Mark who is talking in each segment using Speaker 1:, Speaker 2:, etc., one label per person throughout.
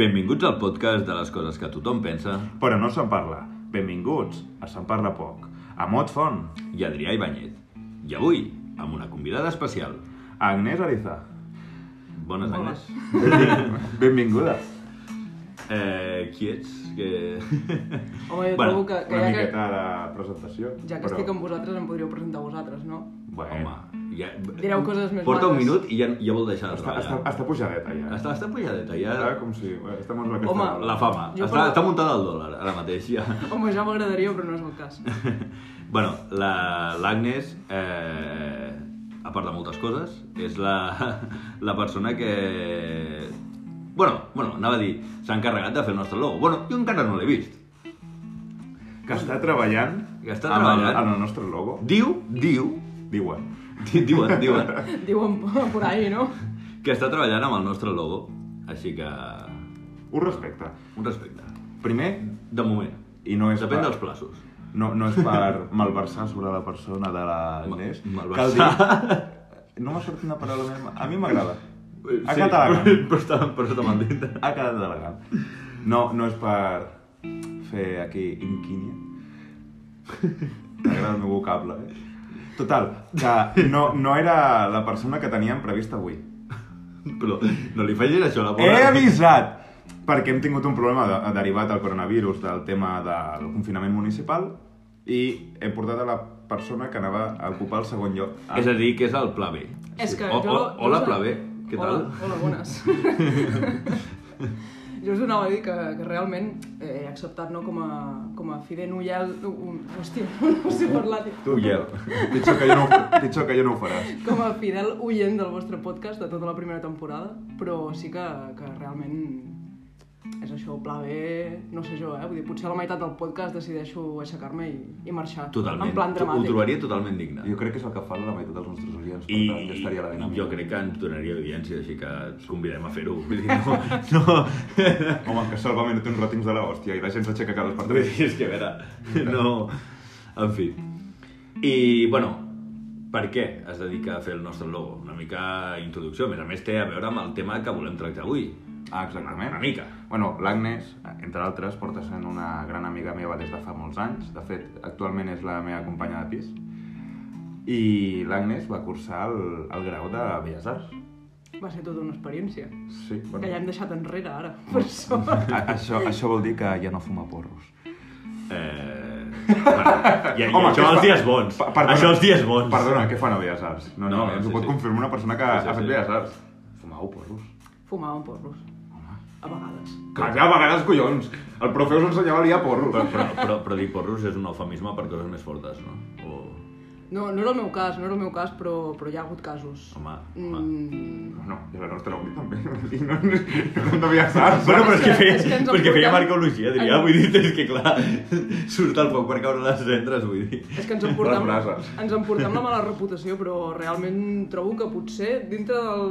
Speaker 1: Benvinguts al podcast de les coses que tothom pensa
Speaker 2: Però no se'n parla. Benvinguts a Se'n Parla Poc, a Mot Font,
Speaker 1: i Adrià Ibáñez. I avui, amb una convidada especial.
Speaker 2: a Agnès Ariza.
Speaker 1: Bones,
Speaker 3: Hola.
Speaker 1: Agnès.
Speaker 2: Benvinguda.
Speaker 1: Eh, qui ets? Que...
Speaker 3: Home, jo
Speaker 1: Bueno,
Speaker 3: trobo que, que,
Speaker 2: Una
Speaker 3: ja que,
Speaker 2: miqueta de presentació.
Speaker 3: ja que estic amb vosaltres em podríeu presentar vosaltres, no?
Speaker 2: Bueno,
Speaker 1: Home, ja...
Speaker 3: Direu coses més
Speaker 1: Porta un
Speaker 3: maques.
Speaker 1: minut i ja, ja vol deixar de
Speaker 2: està,
Speaker 1: treballar.
Speaker 2: està, està pujadeta ja.
Speaker 1: està, està pujadeta,
Speaker 2: Està
Speaker 1: ja...
Speaker 2: com si... Estem en la
Speaker 3: Home,
Speaker 1: La fama.
Speaker 3: Jo
Speaker 1: Està,
Speaker 3: parlo-
Speaker 1: està muntada al dòlar, ara mateix, ja.
Speaker 3: Home, ja m'agradaria, però no és el cas.
Speaker 1: bueno, la- l'Agnes, la, eh, a part de moltes coses, és la, la persona que... Bueno, bueno, anava a dir, s'ha encarregat de fer el nostre logo. Bueno, jo encara no l'he vist.
Speaker 2: Que està treballant,
Speaker 1: Que està
Speaker 2: amb, el,
Speaker 1: treballant.
Speaker 2: amb el nostre logo.
Speaker 1: Diu, diu,
Speaker 2: Diuen.
Speaker 1: di- diuen, diuen,
Speaker 3: Diuen por ahí, no?
Speaker 1: que està treballant amb el nostre logo. Així que,
Speaker 2: Un respecte.
Speaker 1: un respecte.
Speaker 2: Primer,
Speaker 1: De moment.
Speaker 2: i no és
Speaker 1: Depèn
Speaker 2: per,
Speaker 1: dels plaços.
Speaker 2: no, no és per malversar sobre la persona de l'Agnès.
Speaker 1: Ma-
Speaker 2: Cal
Speaker 1: malversar.
Speaker 2: dir... No m'ha sortit una paraula meva. A mi m'agrada. A
Speaker 1: Sí,
Speaker 2: català.
Speaker 1: Però està, però està mentint.
Speaker 2: Ha quedat elegant. No, no és per fer aquí inquínia. M'agrada el meu vocable, eh? Total, que no, no era la persona que teníem prevista avui.
Speaker 1: Però no li facis això a la
Speaker 2: He
Speaker 1: pobra.
Speaker 2: avisat! Perquè hem tingut un problema de, derivat del coronavirus, del tema del confinament municipal, i he portat a la persona que anava a ocupar el segon lloc. Ah,
Speaker 1: És a dir, que és el pla B.
Speaker 3: És que
Speaker 1: o, o,
Speaker 3: jo... jo us-
Speaker 1: hola, pla B. Què tal?
Speaker 3: Hola, hola bones. jo us donava a dir que, que realment eh, he acceptat no, com, a, com a fide nuyel... Un, hòstia, no sé parlar. tio.
Speaker 2: Tu, Iel, pitjor que jo no, ho- pitjor que jo no ho faràs.
Speaker 3: Com a fidel oient del vostre podcast de tota la primera temporada, però sí que, que realment és això, pla B, no sé jo, eh? Vull dir, potser a la meitat del podcast decideixo aixecar-me i, i marxar.
Speaker 1: Totalment.
Speaker 3: En plan
Speaker 1: Ho
Speaker 3: dramàtic.
Speaker 1: trobaria totalment digne.
Speaker 2: Jo crec que és el que fan la meitat dels nostres oients, per
Speaker 1: I,
Speaker 2: tant, que estaria la dinàmica.
Speaker 1: jo crec que ens donaria audiència, així que us convidem a fer-ho. Vull dir, no... no...
Speaker 2: Home, que salvament té uns ratings de la hòstia i la gent s'aixeca cada per
Speaker 1: Vull dir, és que a veure, no... En fi. I, bueno, per què es dedica a fer el nostre logo? Una mica introducció. A més a més, té a veure amb el tema que volem tractar avui.
Speaker 2: Ah, exactament.
Speaker 1: Una mica.
Speaker 2: Bueno, l'Agnes, entre altres, porta sent una gran amiga meva des de fa molts anys. De fet, actualment és la meva companya de pis. I l'Agnes va cursar el, el grau de Belles Arts.
Speaker 3: Va ser tota una experiència.
Speaker 2: Sí, bueno.
Speaker 3: Que ja hem deixat enrere, ara, per sort.
Speaker 2: A, això, això vol dir que ja no fuma porros.
Speaker 1: Eh... Bueno, i, i
Speaker 2: què
Speaker 1: això
Speaker 2: fa-
Speaker 1: els dies bons.
Speaker 2: Pa- perdona.
Speaker 1: això els dies bons.
Speaker 2: Perdona, què fan a Belles Arts? No, no,
Speaker 1: No,
Speaker 2: no ens
Speaker 1: sí,
Speaker 2: ho pot
Speaker 1: sí.
Speaker 2: confirmar una persona que
Speaker 1: Sí, sí,
Speaker 2: ha fet
Speaker 1: sí.
Speaker 2: Belles Arts. Fumau porros.
Speaker 3: Fumàvem porros. A vegades.
Speaker 2: Que ja, a vegades, collons, el profe us ensenyava a liar porros.
Speaker 1: Però, però, però, però dir porros és un eufemisme per coses més fortes, no? O...
Speaker 3: No, no era el meu cas, no era el meu cas, però, però hi ha hagut casos.
Speaker 1: Home, home.
Speaker 3: Mm,
Speaker 2: No, i a la nostra uni també. I no, no, no, no havia saps.
Speaker 1: Bueno, però és que,
Speaker 3: És que-
Speaker 1: feia,
Speaker 3: és que ens
Speaker 1: però és que feia
Speaker 3: emportem-
Speaker 1: marcologia, diria.
Speaker 3: Ai.
Speaker 1: Vull dir, és que clar, surt el foc per caure a les cendres, vull dir.
Speaker 3: És que ens emportem,
Speaker 2: Les brases.
Speaker 3: ens emportem la mala reputació, però realment trobo que potser dintre del...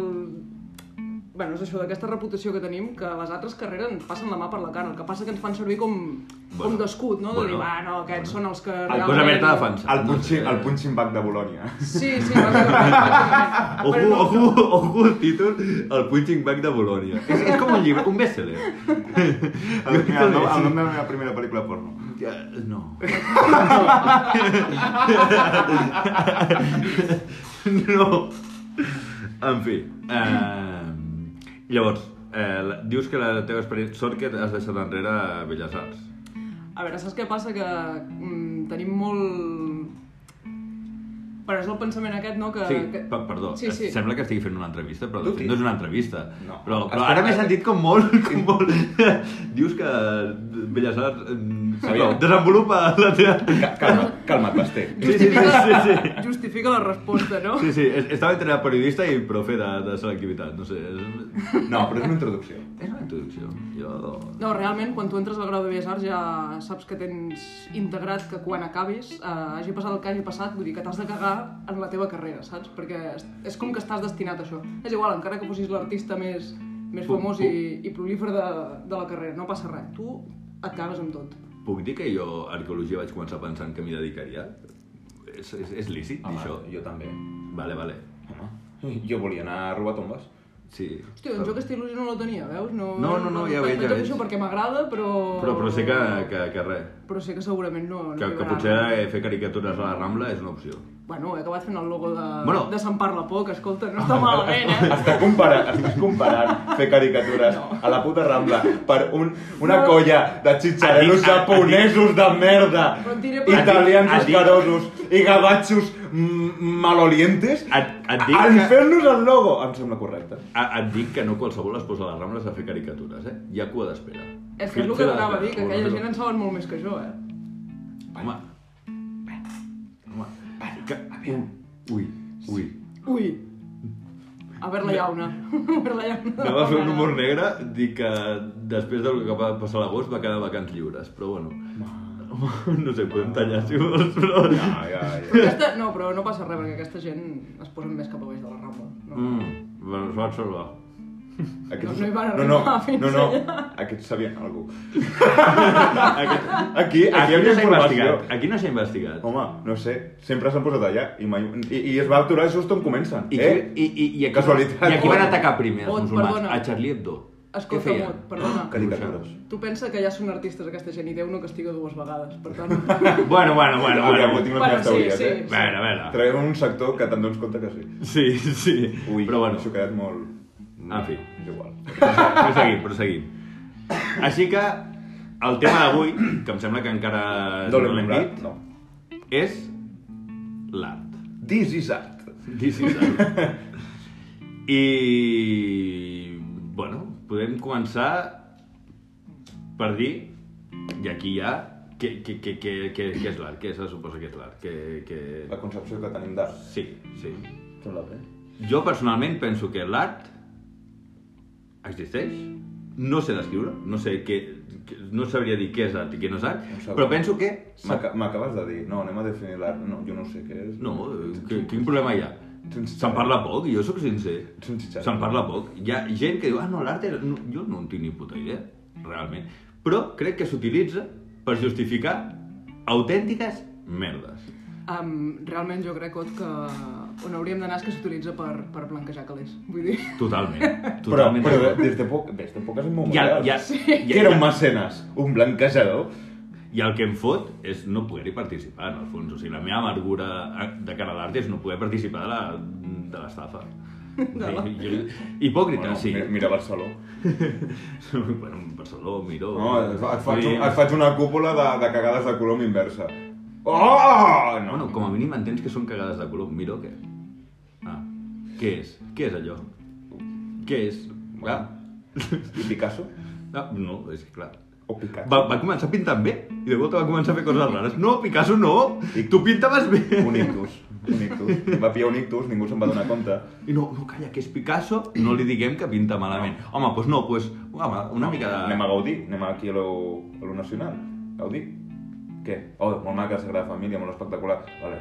Speaker 3: bueno, és això, d'aquesta reputació que tenim, que les altres carreres ens passen la mà per la cara. El que passa que ens fan servir com,
Speaker 1: Bueno.
Speaker 3: com d'escut, no? De
Speaker 1: Bueno.
Speaker 3: dir, va, no, aquests són els que...
Speaker 1: El posa Berta de fans.
Speaker 2: El punching, el punching bag de Bolònia.
Speaker 3: Sí, sí, bàsicament. bàsicament.
Speaker 1: Ojo,
Speaker 3: Ah, Però no-
Speaker 1: ojo, ojo el títol, el punching bag de Bolònia. És, és com un llibre, un best-seller.
Speaker 2: El, mira, el, nom, el nom de la meva primera pel·lícula porno.
Speaker 1: Ja, No. No. En fi. Eh, llavors, eh, la- dius que la teva experiència... Sort que has deixat enrere Belles Arts.
Speaker 3: A veure, saps què passa? Que mm, tenim molt... Però és el pensament aquest, no? Que,
Speaker 1: Sí,
Speaker 3: que...
Speaker 1: pe- perdó,
Speaker 3: Sí, sí.
Speaker 1: sembla que estigui fent una entrevista, però de
Speaker 2: Tu
Speaker 1: fet
Speaker 2: sí.
Speaker 1: no és una entrevista.
Speaker 2: No.
Speaker 1: Però, però
Speaker 2: Espera
Speaker 1: ara m'he
Speaker 2: que-
Speaker 1: sentit com molt, com molt... Dius que eh, Belles Arts... em, Sisplau,
Speaker 2: Aviam.
Speaker 1: desenvolupa la teva...
Speaker 2: Calma, calma't, Basté.
Speaker 1: Sí, sí, sí, sí, sí.
Speaker 3: Justifica la resposta, no?
Speaker 1: Sí, sí, es- estava entre periodista i profe de, de selectivitat, no sé, és,
Speaker 2: No, però és una introducció.
Speaker 1: és una introducció. Jo...
Speaker 3: No, realment, quan tu entres al grau de Belles Arts ja saps que tens integrat que quan acabis, eh, hagi passat el que hagi passat, vull dir que t'has de cagar en la teva carrera, saps? Perquè és, és com que estàs destinat a això. És igual, encara que fossis l'artista més, més
Speaker 1: Puc-
Speaker 3: famós
Speaker 1: puc-
Speaker 3: i, i prolífer de, de la carrera, no passa res. Tu et cagues amb tot.
Speaker 1: Puc dir que jo a arqueologia vaig començar pensant que m'hi dedicaria? És,
Speaker 3: Ah,
Speaker 1: és, és lícit, dir això?
Speaker 2: també.
Speaker 1: Vale, vale.
Speaker 2: Home, jo volia anar a robar tombes.
Speaker 1: Sí.
Speaker 3: Hòstia, doncs jo aquesta il·lusió no la tenia, veus? No,
Speaker 1: No, no, no, ja ho veig, ja
Speaker 3: faig
Speaker 1: veig.
Speaker 3: Això perquè m'agrada, però...
Speaker 1: Però, però sé que, que, que res,
Speaker 3: Però sé que segurament no... no
Speaker 1: que, que
Speaker 3: arribarà.
Speaker 1: potser eh, fer caricatures a la Rambla és una opció.
Speaker 3: Bueno, he acabat fent el logo de,
Speaker 1: Bueno.
Speaker 3: de Sant Parla Poc, escolta, no està malament, eh?
Speaker 2: Està comparant, estàs comparant fer caricatures
Speaker 3: No.
Speaker 2: a la puta Rambla per un, una
Speaker 3: No.
Speaker 2: colla de
Speaker 1: Et
Speaker 2: xitxareros
Speaker 1: dic- et- et dic-
Speaker 2: japonesos de merda,
Speaker 3: Però et diré per-
Speaker 1: Et dic-
Speaker 2: italians
Speaker 1: et dic-
Speaker 2: escarosos i gavatxos mm, malolientes,
Speaker 1: Et, et, dic
Speaker 2: en
Speaker 1: que,
Speaker 2: fer-nos el logo em sembla correcte.
Speaker 1: a, et dic que no qualsevol es posa a les Rambles a fer caricatures, eh? Hi ha cua d'espera.
Speaker 3: És que és el que t'anava a dir, que aquella gent en saben molt més que jo, eh?
Speaker 1: Home, home, que... Ui, ui.
Speaker 3: Ui! A veure la llauna. A veure la llauna. de
Speaker 1: Anava a fer un
Speaker 3: Pamela.
Speaker 1: humor negre, dir que després del que va passar a l'agost va quedar vacants lliures, però bueno... No sé, podem tallar si vols, però...
Speaker 2: Ja, ja, ja.
Speaker 3: Aquesta, no, però no passa res, perquè aquesta gent es posen més cap a baix de la Rambla. No?
Speaker 1: Mm, bueno, es va salvar.
Speaker 2: Aquests...
Speaker 3: No, no hi van
Speaker 2: no, no,
Speaker 3: arribar fins
Speaker 2: no, no,
Speaker 3: allà.
Speaker 2: aquests sabien alguna cosa.
Speaker 1: Aquí,
Speaker 2: Aquí, aquí
Speaker 1: aquí
Speaker 2: hi
Speaker 1: no
Speaker 2: havia
Speaker 1: s'ha
Speaker 2: informació.
Speaker 1: investigat. Aquí no s'ha investigat.
Speaker 2: Home, no sé, sempre s'han posat allà i, mai... I, i es va aturar just on comencen.
Speaker 1: I,
Speaker 2: eh?
Speaker 1: qui- i, i, i, aquí,
Speaker 2: Casualitat.
Speaker 1: I aquí van atacar primer els
Speaker 3: Ot,
Speaker 1: musulmans,
Speaker 3: perdona.
Speaker 1: a Charlie Hebdo. Què
Speaker 3: Escolta,
Speaker 1: feien?
Speaker 3: Mot, perdona.
Speaker 2: Caricatures.
Speaker 3: Tu pensa que ja són artistes aquesta gent i Déu no castiga dues vegades, per tant...
Speaker 1: Bueno, bueno, bueno,
Speaker 2: Aviam,
Speaker 1: bueno.
Speaker 2: tinc unes
Speaker 3: Bueno,
Speaker 2: meves
Speaker 3: sí,
Speaker 2: teories,
Speaker 3: sí,
Speaker 2: eh?
Speaker 3: sí.
Speaker 1: Bueno, a veure.
Speaker 2: Traiem un sector que te'n dones compte que sí.
Speaker 1: Sí, sí.
Speaker 2: Ui,
Speaker 1: però bueno,
Speaker 2: això ha quedat molt...
Speaker 1: En fi.
Speaker 2: És igual.
Speaker 1: proseguim, proseguim. Així que el tema d'avui, que em sembla que encara no
Speaker 2: Doble
Speaker 1: l'hem
Speaker 2: membrat,
Speaker 1: dit,
Speaker 2: no.
Speaker 1: és l'art.
Speaker 2: This is art.
Speaker 1: This is art. I... Bueno, podem començar per dir, i aquí hi ha, què, què, què, què, què, què és l'art, què se suposa que és l'art, què...
Speaker 2: La
Speaker 1: què...
Speaker 2: concepció que tenim d'art.
Speaker 1: Sí, sí.
Speaker 2: Sembla bé.
Speaker 1: Jo personalment penso que l'art existeix, no sé descriure, no sé què, què- no sabria dir què és art i què no és art,
Speaker 2: Un segon.
Speaker 1: però penso que...
Speaker 2: M'aca- M'acabes de dir, no, anem a definir l'art. No, jo no sé què és.
Speaker 1: No, eh, que, quin problema hi ha? Se'n parla poc, jo sóc sincer.
Speaker 2: Ets un xitxarro.
Speaker 1: Se'n parla poc. Hi ha gent que diu, ah, no, l'art era... No, jo no en tinc ni puta idea, realment. Però crec que s'utilitza per justificar autèntiques merdes.
Speaker 3: Um, realment jo crec, Ot, que on hauríem d'anar és que s'utilitza per, per blanquejar calés. Vull dir,
Speaker 1: Totalment.
Speaker 2: Però,
Speaker 1: Totalment.
Speaker 2: però
Speaker 1: d'acord.
Speaker 2: des de poc, des de poc és molt
Speaker 1: I el,
Speaker 2: modern.
Speaker 1: i, el, i, el,
Speaker 2: Que era un mecenes, un blanquejador.
Speaker 1: I el que em fot és no poder-hi participar, en el fons. O sigui, la meva amargura eh, de cara a l'art és no poder participar de la- de l'estafa.
Speaker 3: la-
Speaker 1: Sí, jo- Hipòcrita,
Speaker 2: Bueno,
Speaker 1: sí.
Speaker 2: mi- Mira Barcelona.
Speaker 1: bueno, Barcelona, Miró...
Speaker 2: No, et, fa- et, faig,
Speaker 1: Vull
Speaker 2: un,
Speaker 1: dir,
Speaker 2: et faig una cúpula de, de cagades de colom inversa. Oh! No, no.
Speaker 1: Bueno, com a mínim entens que són cagades de color. Miró, què? Ah, què és? Què és allò? Què és? Clar.
Speaker 2: I Picasso?
Speaker 1: Ah, no, és que clar.
Speaker 2: O Picasso?
Speaker 1: Va, va començar pintant bé i de volta va començar a fer coses rares. No, Picasso, no! Tu pintaves bé!
Speaker 2: Un ictus. Un ictus. Va pillar un ictus, ningú se'n va donar compte.
Speaker 1: I no, no, calla, que és Picasso, no li diguem que pinta malament. Home, doncs pues no, doncs, pues, home, una mica de...
Speaker 2: Anem a Gaudí, anem aquí a lo, a lo nacional. Gaudí. Què? Oh, molt maca, Sagrada Família, molt espectacular. Vale,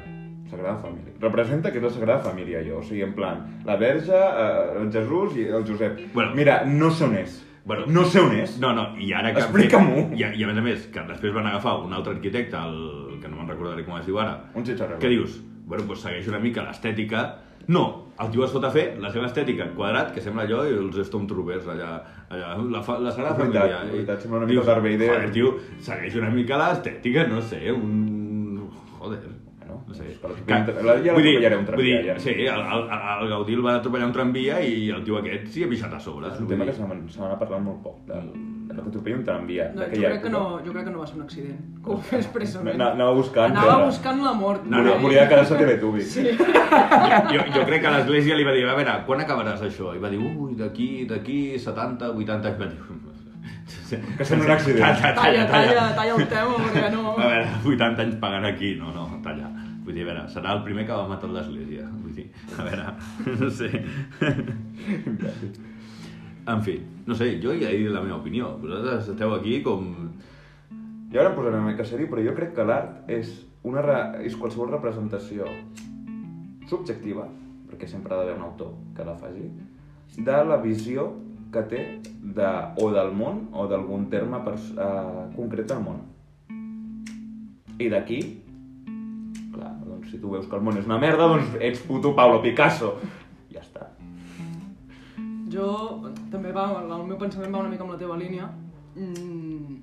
Speaker 2: Sagrada Família. Representa que és la Sagrada Família, jo. O sigui, en plan, la verge, eh, el Jesús i el Josep.
Speaker 1: Bueno.
Speaker 2: Mira, no sé on és.
Speaker 1: Bueno.
Speaker 2: no sé on és.
Speaker 1: No, no, i ara que... han
Speaker 2: Explica-m'ho.
Speaker 1: fet- I, a- I a més a més, que després van agafar un altre arquitecte, el... que no me'n recordaré com es diu ara,
Speaker 2: Un xitxarreu.
Speaker 1: que dius, bueno, doncs segueix una mica l'estètica... No, el tio es fot a fer la seva estètica en quadrat, que sembla allò, i els Stormtroopers, allà, allà la, fa, la Sagrada
Speaker 2: És veritat,
Speaker 1: Família.
Speaker 2: és veritat,
Speaker 1: I
Speaker 2: sembla una mica
Speaker 1: dius,
Speaker 2: Darth Vader.
Speaker 1: Joder, tio, segueix una mica l'estètica, no sé, un... Joder.
Speaker 2: Bueno,
Speaker 1: no sé.
Speaker 2: però pinta- la- ja l'atropellaré un tramvia,
Speaker 1: vull dir,
Speaker 2: ja.
Speaker 1: Sí, el, el, el Gaudí el va atropellar un tramvia i el tio aquest s'hi ha pixat a sobre.
Speaker 2: És un tema que se n'ha- se n'ha parlat molt poc, de, de que t'atropella un tramvia.
Speaker 3: no, jo,
Speaker 2: d'aquella
Speaker 3: crec
Speaker 2: època.
Speaker 3: que no, jo crec que no va ser un accident. Que ho fes expressament.
Speaker 2: Ana- Anava buscant...
Speaker 3: Anava
Speaker 2: però-
Speaker 3: buscant la mort.
Speaker 1: No,
Speaker 2: Volia,
Speaker 1: no.
Speaker 2: volia quedar-se a Teletubi. Sí.
Speaker 1: jo, jo crec que l'església li va dir, a veure, quan acabaràs això? I va dir, ui, d'aquí, d'aquí, 70, 80... I va dir...
Speaker 2: Que sembla un accident.
Speaker 1: Talla,
Speaker 3: Talla, talla, talla el tema, perquè no...
Speaker 1: A veure, 80 anys pagant aquí, no, no, talla. Vull dir, a veure, serà el primer que va matar l'església. Vull dir, a veure, no sé. En fi, no sé, jo ja he dit la meva opinió. Vosaltres esteu aquí com...
Speaker 2: I ara em posaré una mica serio, però jo crec que l'art és, una re... és qualsevol representació subjectiva, perquè sempre ha d'haver un autor que la faci, de la visió que té de, o del món o d'algun terme pers... eh, concret del món. I d'aquí, clar, doncs si tu veus que el món és una merda, doncs ets puto Pablo Picasso. Ja està.
Speaker 3: Jo Jo també va, el meu pensament va una mica amb la teva línia. Mm,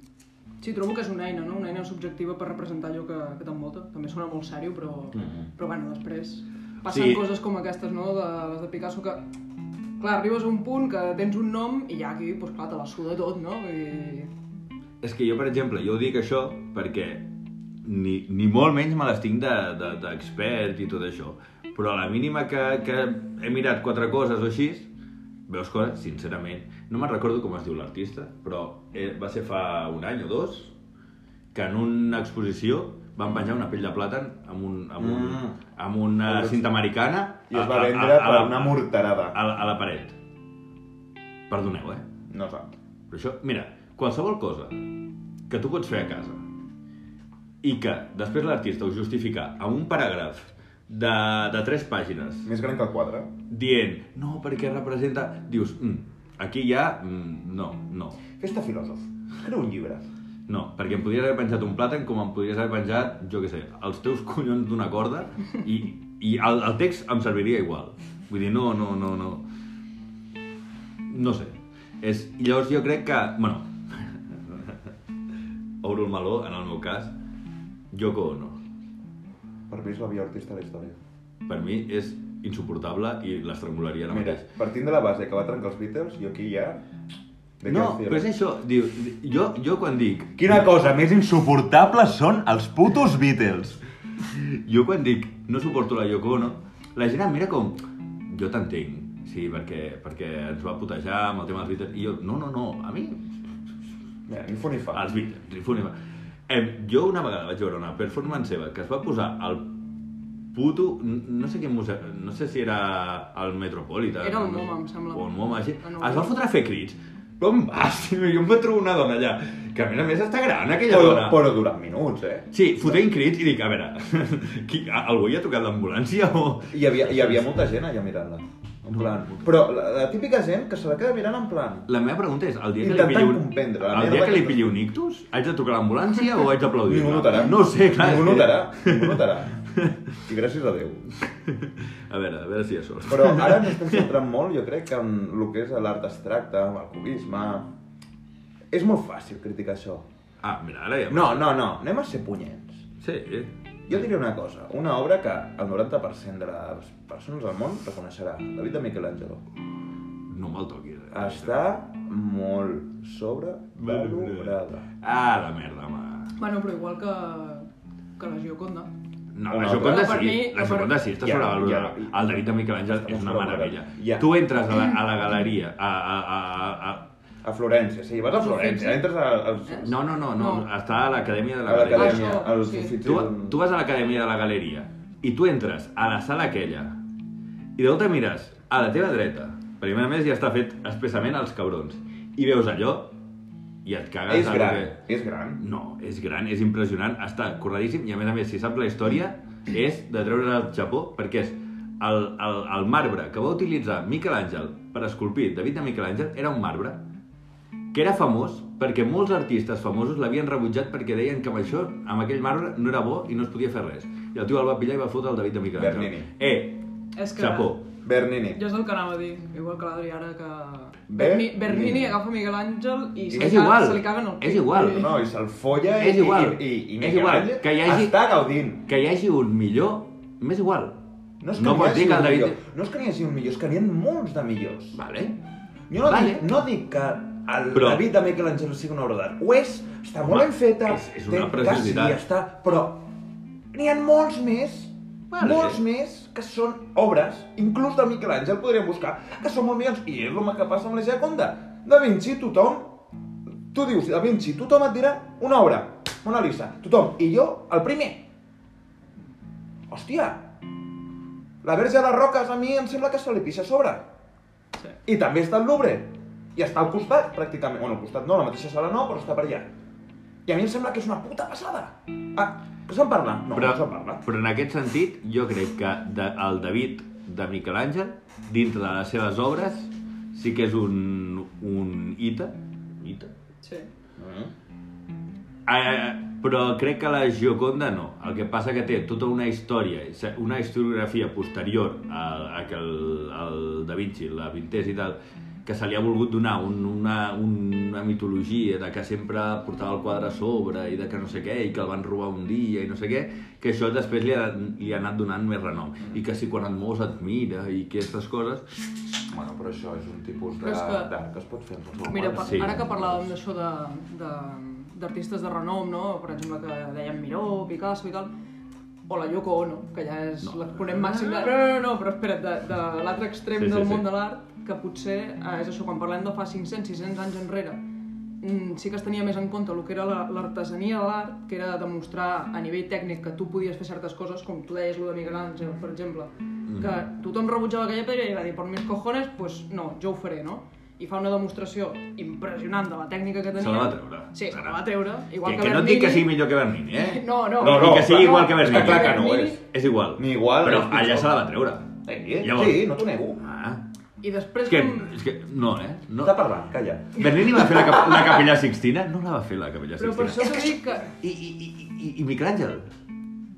Speaker 3: sí, trobo que és una eina, no? Una eina subjectiva per representar allò que, que t'envolta. També sona molt sèrio, però,
Speaker 1: Mhm.
Speaker 3: però bueno, després passen
Speaker 1: Sí.
Speaker 3: coses com aquestes, no? De, les de Picasso que... Clar, arribes a un punt que tens un nom i ja aquí, doncs clar, te la suda tot, no? I...
Speaker 1: És que jo, per exemple, jo dic això perquè ni, ni molt menys me les tinc de- de- d'expert de, i tot això. Però a la mínima que, que he mirat quatre coses o així, veus coses, sincerament, no me'n recordo com es diu l'artista, però eh, va ser fa un any o dos que en una exposició van penjar una pell de plàtan amb, un, amb, un,
Speaker 2: Ah.
Speaker 1: amb una
Speaker 2: Amb un-
Speaker 1: cinta americana
Speaker 2: I es va
Speaker 1: a- a-
Speaker 2: vendre
Speaker 1: a la-
Speaker 2: per una morterada.
Speaker 1: a, la- a la paret. Perdoneu, eh?
Speaker 2: No sap.
Speaker 1: Però això, mira, qualsevol cosa que tu pots fer a casa i que després l'artista ho justifica amb un paràgraf de, de tres pàgines
Speaker 2: Més gran que el quadre.
Speaker 1: dient, no, perquè representa... Dius, mm, aquí ja... Mm, no, no,
Speaker 2: Festa filòsof. Crea un llibre.
Speaker 1: no, perquè em podries haver penjat un plàtan com em podries haver penjat, jo què sé, els teus collons d'una corda i, i el, el text em serviria igual. Vull dir, no, no, no, no. No sé. És, i llavors jo crec que, bueno, obro el meló, en el meu cas, Yoko Ono.
Speaker 2: Per mi és la millor artista de la història.
Speaker 1: Per mi és insuportable i l'estrangularia ara
Speaker 2: Mira,
Speaker 1: mateix.
Speaker 2: partint de la base que va trencar els Beatles, jo aquí ja... De
Speaker 1: No,
Speaker 2: què
Speaker 1: però és això, diu, jo, jo quan dic,
Speaker 2: Quina cosa més insuportable són els putos Beatles.
Speaker 1: Jo quan dic no suporto la Yoko Ono, la gent em mira com... Jo t'entenc, sí, perquè, perquè ens va putejar amb el tema dels Beatles. I jo, no, no, no, a mi...
Speaker 2: Mira, ni fu ni fa.
Speaker 1: Els Beatles, Rifúnima. Em, jo una vegada vaig veure una performance seva que es va posar al puto... No sé quin museu... No sé si era al Metropolitan.
Speaker 3: Era el
Speaker 1: no sé-
Speaker 3: MoMA, em sembla.
Speaker 1: O el MoMA, així.
Speaker 3: Ah, no.
Speaker 1: Es va fotre a fer crits. Però on vas? Jo em vaig trobar una dona allà, que a més a més està gran, aquella
Speaker 2: Però,
Speaker 1: dona.
Speaker 2: però durant minuts, eh?
Speaker 1: Sí, fotent crits i dic, a veure, qui, a- algú hi ha tocat l'ambulància o...
Speaker 2: Hi havia, hi havia molta gent allà mirant-la. En plan... Però la, la típica gent que se la queda mirant en plan...
Speaker 1: La meva pregunta és, el dia que li
Speaker 2: Intentant
Speaker 1: pilli un...
Speaker 2: comprendre, la
Speaker 1: El
Speaker 2: merda
Speaker 1: dia que li
Speaker 2: que-
Speaker 1: pilli un ictus, haig de tocar l'ambulància o haig d'aplaudir?
Speaker 2: Ningú notarà.
Speaker 1: No ho sé, clar.
Speaker 2: Ningú
Speaker 1: és que-
Speaker 2: notarà. Ningú notarà. I gràcies a Déu.
Speaker 1: A veure, a veure si hi ha sort.
Speaker 2: Però ara ens estem centrant molt, jo crec, que en el que és l'art abstracte, amb el cubisme... És molt fàcil criticar això.
Speaker 1: Ah, mira, ara ja...
Speaker 2: No, no, no, anem a ser punyents.
Speaker 1: Sí,
Speaker 2: Jo diré una cosa, una obra que el 90% de les persones del món reconeixerà, la vida de Michelangelo.
Speaker 1: no me'l toquis. eh?
Speaker 2: Està molt sobrevalorada.
Speaker 1: Ah, la merda, home.
Speaker 3: Bueno, però igual que, que la Gioconda.
Speaker 1: No,
Speaker 2: Una
Speaker 1: la
Speaker 2: altra.
Speaker 1: Joconda
Speaker 3: Per
Speaker 1: sí,
Speaker 3: mi-
Speaker 1: la Joconda sí, està
Speaker 2: Ja,
Speaker 1: sobrevalorada.
Speaker 2: ja.
Speaker 1: El David de Miquel Àngel
Speaker 2: Està
Speaker 1: és una
Speaker 2: molt sobrevalorat.
Speaker 1: meravella.
Speaker 2: Ja.
Speaker 1: Tu entres a la, a la galeria, a, a, a, a, a,
Speaker 2: A Florència, sí, vas a Florència, entres a- als...
Speaker 1: No, no, no, no,
Speaker 3: No.
Speaker 1: està a l'acadèmia de la
Speaker 2: A
Speaker 1: galeria.
Speaker 2: l'acadèmia,
Speaker 3: Ah, això,
Speaker 2: als
Speaker 3: sí.
Speaker 2: oficis...
Speaker 1: Tu, tu vas a l'acadèmia de la galeria i tu entres a la sala aquella i de volta mires a la teva dreta, perquè a més ja està fet expressament als cabrons, i veus allò i et cagues.
Speaker 2: És
Speaker 1: en el
Speaker 2: gran,
Speaker 1: que-
Speaker 2: és gran.
Speaker 1: No, és gran, és impressionant, està corredíssim i a més a més, si saps la història, és de treure al Japó perquè és el, el, el marbre que va utilitzar Miquel Àngel per esculpir David de Miquel Àngel era un marbre que era famós perquè molts artistes famosos l'havien rebutjat perquè deien que amb això, amb aquell marbre, no era bo i no es podia fer res. I el tio el va pillar i va fotre el David de Miquel Àngel.
Speaker 2: Bernini.
Speaker 1: Eh,
Speaker 3: És que...
Speaker 1: Chapó.
Speaker 2: Bernini.
Speaker 3: Jo és el que anava a dir, igual que l'Adri ara que...
Speaker 2: Berni-
Speaker 3: Berni, Bernini agafa Miguel Àngel i se,
Speaker 1: És
Speaker 3: li, ca-
Speaker 1: igual,
Speaker 3: se li caguen el
Speaker 1: és igual.
Speaker 2: No, i se'l folla i...
Speaker 1: És igual,
Speaker 2: I, i, i
Speaker 1: és igual,
Speaker 2: Michelangelo
Speaker 1: que hi hagi-
Speaker 2: Està gaudint.
Speaker 1: Que hi hagi un millor, m'és igual.
Speaker 2: No, és que n'hi
Speaker 1: pots
Speaker 2: hagi
Speaker 1: dir que
Speaker 2: un
Speaker 1: el David...
Speaker 2: millor. No és que n'hi hagi un millor, és que n'hi ha molts de millors.
Speaker 1: Vale.
Speaker 2: Jo no,
Speaker 1: Vale.
Speaker 2: dic, no dic que el
Speaker 1: Però-
Speaker 2: però... David de Michelangelo sigui una obra d'art. Ho és, està molt
Speaker 1: Home,
Speaker 2: ben feta,
Speaker 1: és- és una
Speaker 2: té
Speaker 1: preciositat.
Speaker 2: gràcia, està... Però n'hi ha molts més,
Speaker 1: Vale.
Speaker 2: molts més, que són obres, inclús del Michelangelo podríem buscar, que són molt millors. I és el que passa amb la Gioconda. Da Vinci, tothom... Tu dius, Da Vinci, tothom et dirà una obra, Mona Lisa, tothom. I jo, el primer. Hòstia, la Verge de les Roques a mi em sembla que se li pixa a sobre.
Speaker 3: Sí.
Speaker 2: I també està el Louvre. I està al costat, pràcticament. Bueno, al costat no, a la mateixa sala no, però està per allà. I a mi em sembla que és una puta passada. Ah, que se'n parla? No,
Speaker 1: però,
Speaker 2: no se'n parla.
Speaker 1: però en aquest sentit, jo crec que de, el David de Miquel Àngel, dintre de les seves obres, sí que és un, un ita, ita?
Speaker 3: Sí.
Speaker 2: Mm.
Speaker 1: Eh, però crec que la Gioconda no. El que passa que té tota una història, una historiografia posterior a, a que el, el Da Vinci la pintés i tal, que se li ha volgut donar un, una, una mitologia de que sempre portava el quadre a sobre i de que no sé què, i que el van robar un dia i no sé què, que això després li ha, li ha anat donant més renom. I que si quan et mous et mira i que aquestes coses...
Speaker 2: Bueno, però això és un tipus
Speaker 3: Però
Speaker 2: de-
Speaker 3: és que-
Speaker 2: d'art que... es pot fer. en qualsevol
Speaker 3: Mira,
Speaker 2: quadre.
Speaker 3: pa-
Speaker 1: Sí.
Speaker 3: ara que parlàvem d'això de- de- d'artistes de, de renom, no? per exemple, que dèiem Miró, Picasso i tal, o la Yoko Ono, que ja és
Speaker 1: No.
Speaker 3: l'exponent màxim de... No, no, no, no, però espera't, de, de l'altre
Speaker 1: Sí,
Speaker 3: extrem
Speaker 1: sí,
Speaker 3: del
Speaker 1: sí.
Speaker 3: món de l'art, que potser eh, és això, quan parlem de fa 500, 600 anys enrere, mm, sí que es tenia més en compte el que era la- l'artesania de l'art, que era demostrar a nivell tècnic que tu podies fer certes coses, com tu deies, lo de Miguel Àngel, per exemple,
Speaker 1: Mm-hmm.
Speaker 3: que tothom rebutjava aquella pedra i va dir, per mis cojones, pues no, jo ho faré, no? I fa una demostració impressionant de la tècnica que tenia.
Speaker 1: Se la va treure.
Speaker 3: Sí, se la va treure. Igual
Speaker 1: Que,
Speaker 3: que,
Speaker 1: que no et
Speaker 3: Bernini.
Speaker 1: dic que sigui millor que Bernini, eh?
Speaker 3: No, no.
Speaker 1: no, que sigui
Speaker 3: no,
Speaker 1: igual que
Speaker 3: no,
Speaker 1: Bernini.
Speaker 2: És que clar que no ho
Speaker 3: Bernini-
Speaker 2: és.
Speaker 1: És igual.
Speaker 2: Ni igual,
Speaker 1: Però
Speaker 2: és pitjor.
Speaker 1: allà se la va treure.
Speaker 2: Eh,
Speaker 1: Llavors-
Speaker 2: Sí, no t'ho nego.
Speaker 1: Ah,
Speaker 3: I després...
Speaker 1: és que,
Speaker 3: com-
Speaker 1: és que no, eh? No.
Speaker 2: Està parlant, calla.
Speaker 1: Bernini va fer la, cap la capella Sixtina? No la va fer la capella
Speaker 3: Però
Speaker 1: Sixtina.
Speaker 3: per això t'ho dic que...
Speaker 1: I, i, i, i, i Miquel Àngel?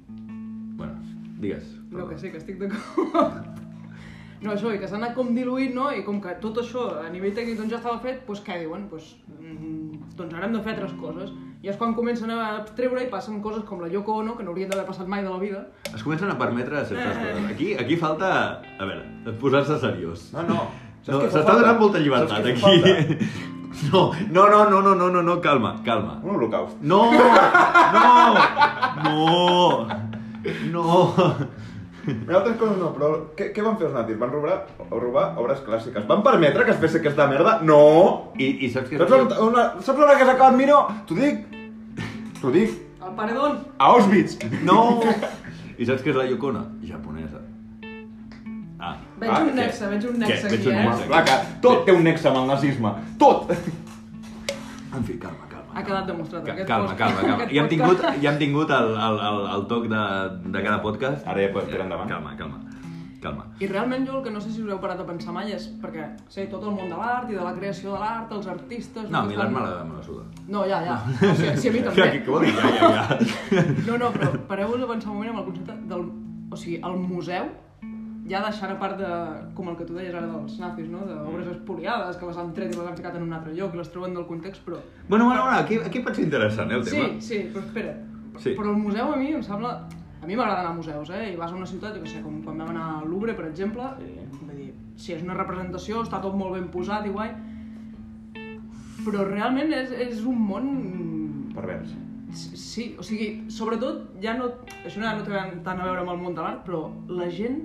Speaker 1: Bueno, digues.
Speaker 3: No, que sí, que estic d'acord. No, això, i que s'ha anat com diluint, no? I com que tot això a nivell tècnic doncs, ja estava fet, doncs què diuen? Doncs, mm, doncs ara hem de fer altres coses. I és quan comencen a abstreure i passen coses com la Yoko Ono, que no haurien d'haver passat mai de la vida.
Speaker 1: Es comencen a permetre
Speaker 3: Eh.
Speaker 1: certes coses. Aquí, aquí falta, a veure, posar-se seriós.
Speaker 2: No, no. Saps
Speaker 1: No,
Speaker 2: què fa
Speaker 1: s'està
Speaker 2: falta?
Speaker 1: donant molta
Speaker 2: Saps
Speaker 1: llibertat
Speaker 2: què fa
Speaker 1: aquí. No, no, no, no, no, no, no, no, calma, calma.
Speaker 2: Un holocaust.
Speaker 1: No, no, no, no.
Speaker 2: Hi ha altres coses no, però què, què van fer els nazis? Van robar, robar obres clàssiques. Van permetre que es fes aquesta merda? No!
Speaker 1: I, i saps què?
Speaker 2: Saps on, on, saps on que s'ha acabat Miro? T'ho dic! T'ho dic!
Speaker 3: El paredón!
Speaker 2: A Auschwitz!
Speaker 1: No! I saps què és la Yokona? Japonesa. Ah,
Speaker 3: Veig
Speaker 2: Ah,
Speaker 3: un
Speaker 2: què?
Speaker 3: nexe, veig un
Speaker 1: Què?
Speaker 3: nexe
Speaker 1: Veig
Speaker 3: aquí,
Speaker 1: un
Speaker 3: eh?
Speaker 1: nexe.
Speaker 2: Clar que tot té un nexe amb el nazisme. Tot!
Speaker 1: en fi, calma, calma.
Speaker 3: Ha quedat demostrat.
Speaker 1: Ca-
Speaker 3: aquest
Speaker 1: Calma,
Speaker 3: post-
Speaker 1: calma, calma.
Speaker 3: aquest
Speaker 1: Ja hem tingut,
Speaker 3: podcast.
Speaker 1: ja hem tingut el, el, el, el toc de, de cada podcast.
Speaker 2: Ara ja podem tirar Ah, endavant.
Speaker 1: Calma, calma. Calma.
Speaker 3: I realment jo el que no sé si us heu parat a pensar mai és perquè, sé, tot el món de l'art i de la creació de l'art, els artistes...
Speaker 1: No, a mi
Speaker 3: que
Speaker 1: l'art
Speaker 3: fan-
Speaker 1: me la, me la suda.
Speaker 3: No, ja, ja. O sigui, sí, a mi també.
Speaker 1: Ja, què, què vol dir? Ja, ja, ja.
Speaker 3: No, no, però pareu-vos a pensar un moment amb el concepte del... O sigui, el museu, ja deixant a part de, com el que tu deies ara dels nazis, no? d'obres
Speaker 1: Mm.
Speaker 3: espoliades, que les han tret i les han ficat en un altre lloc i les troben del context, però...
Speaker 1: Bueno, bueno, bueno, aquí, aquí pot ser interessant, eh, el
Speaker 3: Sí,
Speaker 1: tema.
Speaker 3: sí, però espera.
Speaker 1: Sí.
Speaker 3: Però el museu a mi em sembla... A mi m'agrada anar a museus, eh? I vas a una ciutat, jo què sé, com quan vam anar al Louvre, per exemple, sí. vull dir, si és una representació, està tot molt ben posat i guai, però realment és, és un món
Speaker 2: Pervers.
Speaker 3: Sí, o sigui, sobretot ja no... Això no, no té tant a veure amb el món de l'art, però la gent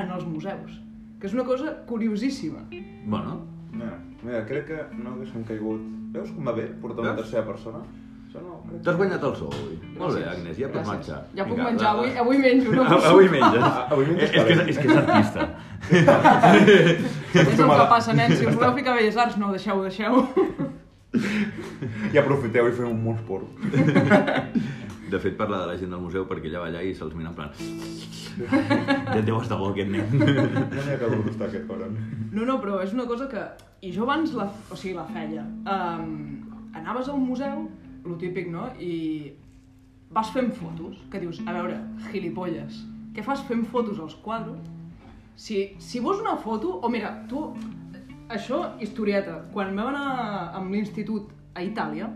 Speaker 3: en els museus, que és una cosa curiosíssima.
Speaker 1: Bueno,
Speaker 2: Mira, mira, crec que no haguéssim caigut... Veus com va bé portar una
Speaker 1: Veus?
Speaker 2: tercera persona? Això no, crec
Speaker 1: t'has guanyat el sol avui. Molt bé,
Speaker 3: Gràcies.
Speaker 1: Agnès, ja pots
Speaker 3: Gràcies.
Speaker 1: marxar.
Speaker 3: Ja puc
Speaker 1: Vinga, va,
Speaker 3: menjar, avui,
Speaker 1: va.
Speaker 3: avui menjo, no?
Speaker 1: Avui menges.
Speaker 2: Ah, Avui menges
Speaker 1: És que,
Speaker 2: calent.
Speaker 1: és que és artista.
Speaker 3: és el que passa, nens, si us voleu ficar belles arts, no, deixeu, deixeu.
Speaker 2: I aprofiteu i feu un molts porc.
Speaker 1: De fet, parla de la gent del museu perquè ella va allà i se'ls mira en plan... Ja et deu estar bo, aquest nen.
Speaker 2: No n'hi ha que gustar aquest cabron.
Speaker 3: No, no, però és una cosa que... I jo abans la, o sigui, la feia. Um, anaves a un museu, lo típic, no? I vas fent fotos, que dius, a veure, gilipolles, què fas fent fotos als quadros? Si, si vols una foto, o mira, tu... Això, historieta, quan vam anar amb l'institut a Itàlia,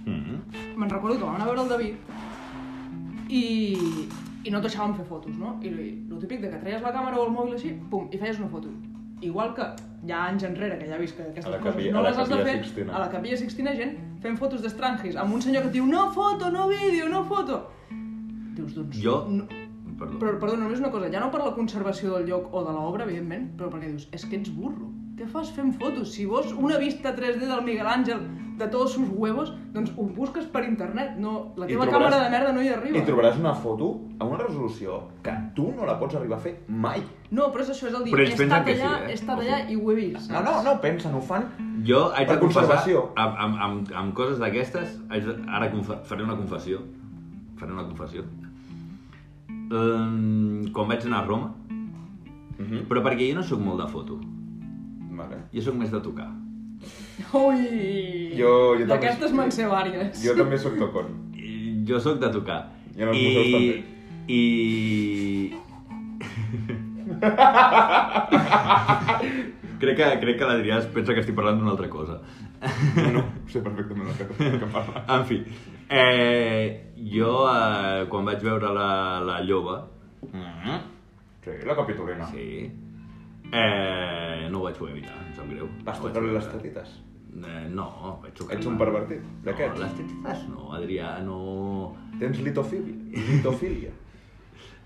Speaker 2: Mhm.
Speaker 3: me'n recordo que vam anar a veure el David i, i no et deixàvem fer fotos, no? I el típic de que traies la càmera o el mòbil així, pum, i feies una foto. Igual que ja anys enrere, que ja he vist que
Speaker 2: A
Speaker 3: aquestes
Speaker 2: la
Speaker 3: coses
Speaker 2: capilla- a
Speaker 3: no
Speaker 2: la
Speaker 3: les has de
Speaker 2: capilla
Speaker 3: fer,
Speaker 2: Sixtina.
Speaker 3: a la capilla Sixtina gent fent fotos d'estrangis, amb un senyor que et diu no foto, no vídeo, no foto. Dius, doncs...
Speaker 1: Jo...
Speaker 3: No...
Speaker 1: Perdó.
Speaker 3: Però, perdona, només una cosa, ja no per la conservació del lloc o de l'obra, evidentment, però perquè dius, és que ets burro. Què fas fent fotos? Si vols una vista 3D del Miguel Àngel de tots sus huevos, doncs ho busques per internet. No, la
Speaker 2: I
Speaker 3: teva
Speaker 2: trobaràs-
Speaker 3: càmera de merda no hi arriba.
Speaker 2: I trobaràs una foto a una resolució que tu no la pots arribar a fer mai.
Speaker 3: No, però és això, és el dir,
Speaker 1: Però
Speaker 3: he
Speaker 1: ells pensen
Speaker 3: estat
Speaker 1: que sí,
Speaker 3: allà,
Speaker 1: eh?
Speaker 3: he estat allà i ho he vist.
Speaker 2: No,
Speaker 3: saps?
Speaker 2: no, no, pensa, no ho fan.
Speaker 1: Jo haig
Speaker 2: Per
Speaker 1: de confessar,
Speaker 2: conservació.
Speaker 1: amb, amb, amb, amb coses d'aquestes, haig de- ara confe faré una confessió. Faré una confessió. Um, quan vaig anar a Roma,
Speaker 2: Mhm.
Speaker 1: però perquè jo no sóc molt de foto,
Speaker 2: Vale.
Speaker 1: jo sóc més de tocar.
Speaker 3: Ui!
Speaker 2: Jo- jo també-
Speaker 3: D'aquestes me'n sé vàries.
Speaker 2: Jo també sóc tocon.
Speaker 1: I jo sóc de tocar.
Speaker 2: I en els museus també.
Speaker 1: I... Crec que, crec que l'Adrià es pensa que estic parlant d'una altra cosa.
Speaker 2: No, no, sé perfectament el que, que parla.
Speaker 1: En fi, eh, jo eh, quan vaig veure la, la lloba,
Speaker 2: Mm. Sí, la capitolina. Sí.
Speaker 1: sí, eh, no ho vaig poder evitar, em sap greu.
Speaker 2: Vas
Speaker 1: No ho vaig
Speaker 2: tocar-li
Speaker 1: poder
Speaker 2: les
Speaker 1: evitar.
Speaker 2: tetites.
Speaker 1: Eh, no, vaig tocar
Speaker 2: Ets un pervertit, d'aquests.
Speaker 1: No, les tetites no, Adrià, no...
Speaker 2: Tens litofília. litofília.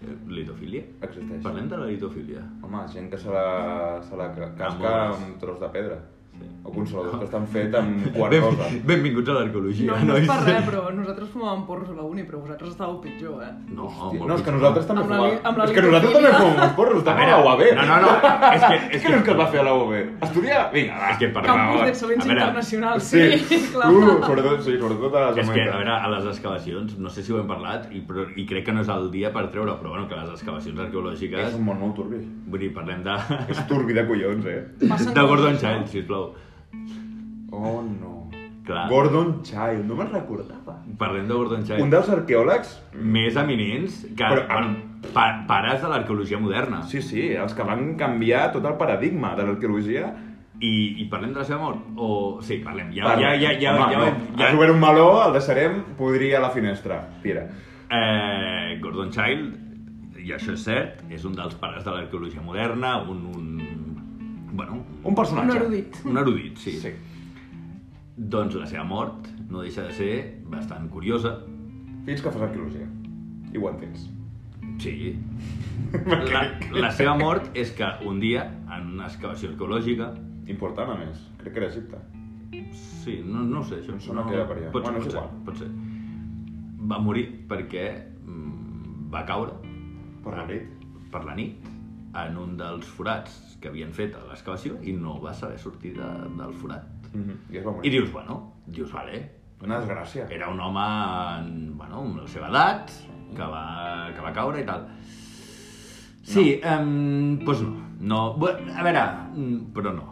Speaker 1: Eh, Litofília?
Speaker 2: Existeix.
Speaker 1: Parlem de la litofília.
Speaker 2: Home, gent que se la, se la ca- casca
Speaker 1: Amores.
Speaker 2: amb un tros de pedra.
Speaker 1: Sí.
Speaker 2: O consoladors que estan fet amb
Speaker 1: Ben,
Speaker 2: quarcosa.
Speaker 1: benvinguts a l'arqueologia,
Speaker 3: No, no és per
Speaker 1: nois.
Speaker 3: res, però nosaltres fumàvem porros a la uni, però vosaltres estàveu pitjor, eh?
Speaker 1: No, molt
Speaker 2: No, és que
Speaker 1: pitjor.
Speaker 2: nosaltres també
Speaker 3: Amb la li-
Speaker 2: fumàvem.
Speaker 3: amb la
Speaker 2: És que nosaltres també
Speaker 3: litofília.
Speaker 2: fumàvem porros, també a
Speaker 1: veure,
Speaker 2: la UAB.
Speaker 1: No, no, no, és que...
Speaker 2: És que no és que el va fer a la UAB. Estudiar? Vinga, va.
Speaker 1: És que, per
Speaker 3: Campus
Speaker 1: favor,
Speaker 3: d'excel·lència
Speaker 1: a veure,
Speaker 3: internacional, sí,
Speaker 2: Sí,
Speaker 3: clar.
Speaker 2: uh, sobretot, sí, sobretot a
Speaker 1: És
Speaker 2: les
Speaker 1: que, a
Speaker 2: humanitats.
Speaker 1: veure, a les excavacions, no sé si ho hem parlat, i, però, i crec que no és el dia per treure, però bueno, que les excavacions
Speaker 2: És
Speaker 1: arqueològiques...
Speaker 2: un món molt turbi.
Speaker 1: Vull dir, parlem de...
Speaker 2: És turbi de collons, eh?
Speaker 1: de
Speaker 3: Passen coses,
Speaker 1: Gordon
Speaker 3: no?
Speaker 1: Child, sisplau.
Speaker 2: Oh, no.
Speaker 1: Clar.
Speaker 2: Gordon Child, no me'n recordava.
Speaker 1: Parlem de Gordon
Speaker 2: Un
Speaker 1: Child.
Speaker 2: dels arqueòlegs...
Speaker 1: Més eminents que...
Speaker 2: Però,
Speaker 1: bueno, pa, pares de l'arqueologia moderna.
Speaker 2: Sí, sí, els que van canviar tot el paradigma de l'arqueologia.
Speaker 1: I, I parlem de la seva mort? O... Sí, parlem. Ja,
Speaker 2: Parla.
Speaker 1: ja, ja, ja,
Speaker 2: Home,
Speaker 1: ja,
Speaker 2: no.
Speaker 1: ja,
Speaker 2: Has obert un meló, el deixarem, podria a la finestra. Tira.
Speaker 1: Eh, Gordon Child, i això és cert, és un dels pares de l'arqueologia moderna, un, un... Bueno,
Speaker 2: Un
Speaker 3: Un
Speaker 2: personatge.
Speaker 3: erudit.
Speaker 1: un erudit, sí.
Speaker 2: Sí.
Speaker 1: Doncs la seva mort no deixa de ser bastant curiosa.
Speaker 2: Fins que fas arqueologia. I ho entens.
Speaker 1: Sí. La, la seva mort és que un dia, en una excavació arqueològica...
Speaker 2: Important, a més. Crec que era Egipte.
Speaker 1: Sí, no, no ho sé, això...
Speaker 2: Em sona
Speaker 1: no,
Speaker 2: que era per allà.
Speaker 1: Pot,
Speaker 2: Bueno,
Speaker 1: bueno, pot,
Speaker 2: és
Speaker 1: ser,
Speaker 2: igual.
Speaker 1: pot ser. Va morir perquè mm, va caure...
Speaker 2: Per la nit.
Speaker 1: Per la nit, en un dels forats que havien fet a l'excavació i no va saber sortir de, del forat.
Speaker 2: Mhm. I es va
Speaker 1: I
Speaker 2: morir.
Speaker 1: dius, bueno, dius, vale,
Speaker 2: Una desgràcia.
Speaker 1: era un home, en- bueno, amb la seva edat, que va, que va caure i tal. Sí, no. Um, doncs no. no. Bé, A veure, mm, però no.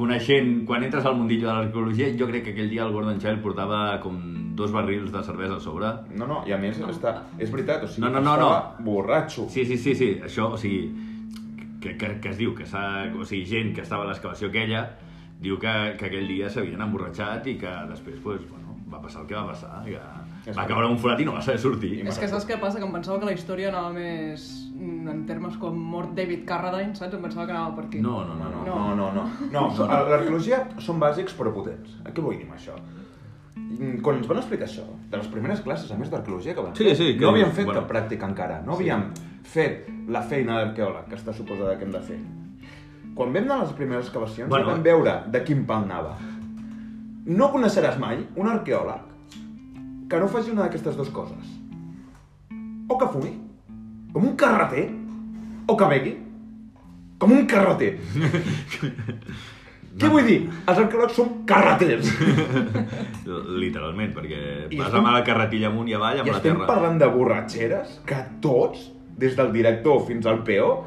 Speaker 1: Coneixent, quan entres al mundillo de l'arqueologia, jo crec que aquell dia el Gordon Child portava com dos barrils de cervesa a sobre.
Speaker 2: No, no, i a més està... És veritat, o sigui,
Speaker 1: No, no, no,
Speaker 2: estava borratxo.
Speaker 1: Sí, sí, sí, sí, això, o sigui, que, que, que es diu que s'ha... O sigui, gent que estava a l'excavació aquella diu que, que aquell dia s'havien emborratxat i que després, pues, bueno, va passar el que va passar, que
Speaker 2: És
Speaker 1: va
Speaker 2: veritat.
Speaker 1: caure en un forat i no va saber sortir.
Speaker 2: I
Speaker 3: És que saps què passa? Que em pensava que la història anava més mm, en termes com mort David Carradine, saps? Em pensava que anava per aquí.
Speaker 1: No, no,
Speaker 2: No,
Speaker 1: no, no.
Speaker 2: no, no, no, no. No, so- a l'arqueologia són bàsics però potents. A què vull dir amb això? Mm, Quan ens van explicar això, de les primeres classes, a més d'arqueologia que van
Speaker 1: Sí,
Speaker 2: fer,
Speaker 1: sí, que-
Speaker 2: no havíem fet
Speaker 1: bueno.
Speaker 2: cap pràctica encara, no havíem fet la feina d'arqueòleg que està suposada que hem de fer. Quan vam anar a les primeres excavacions
Speaker 1: Bueno.
Speaker 2: bueno. vam veure de quin pal anava. No coneixeràs mai un arqueòleg que no faci una d'aquestes dues coses. O que fumi, com un carreter, o que begui, com un carreter. Què vull dir? Els arqueòlegs som carreters.
Speaker 1: Literalment, perquè
Speaker 2: I
Speaker 1: vas
Speaker 2: estem-
Speaker 1: amb la carretilla amunt i avall
Speaker 2: I
Speaker 1: amb la
Speaker 2: estem
Speaker 1: terra.
Speaker 2: parlant de borratxeres que tots, des del director fins al PO,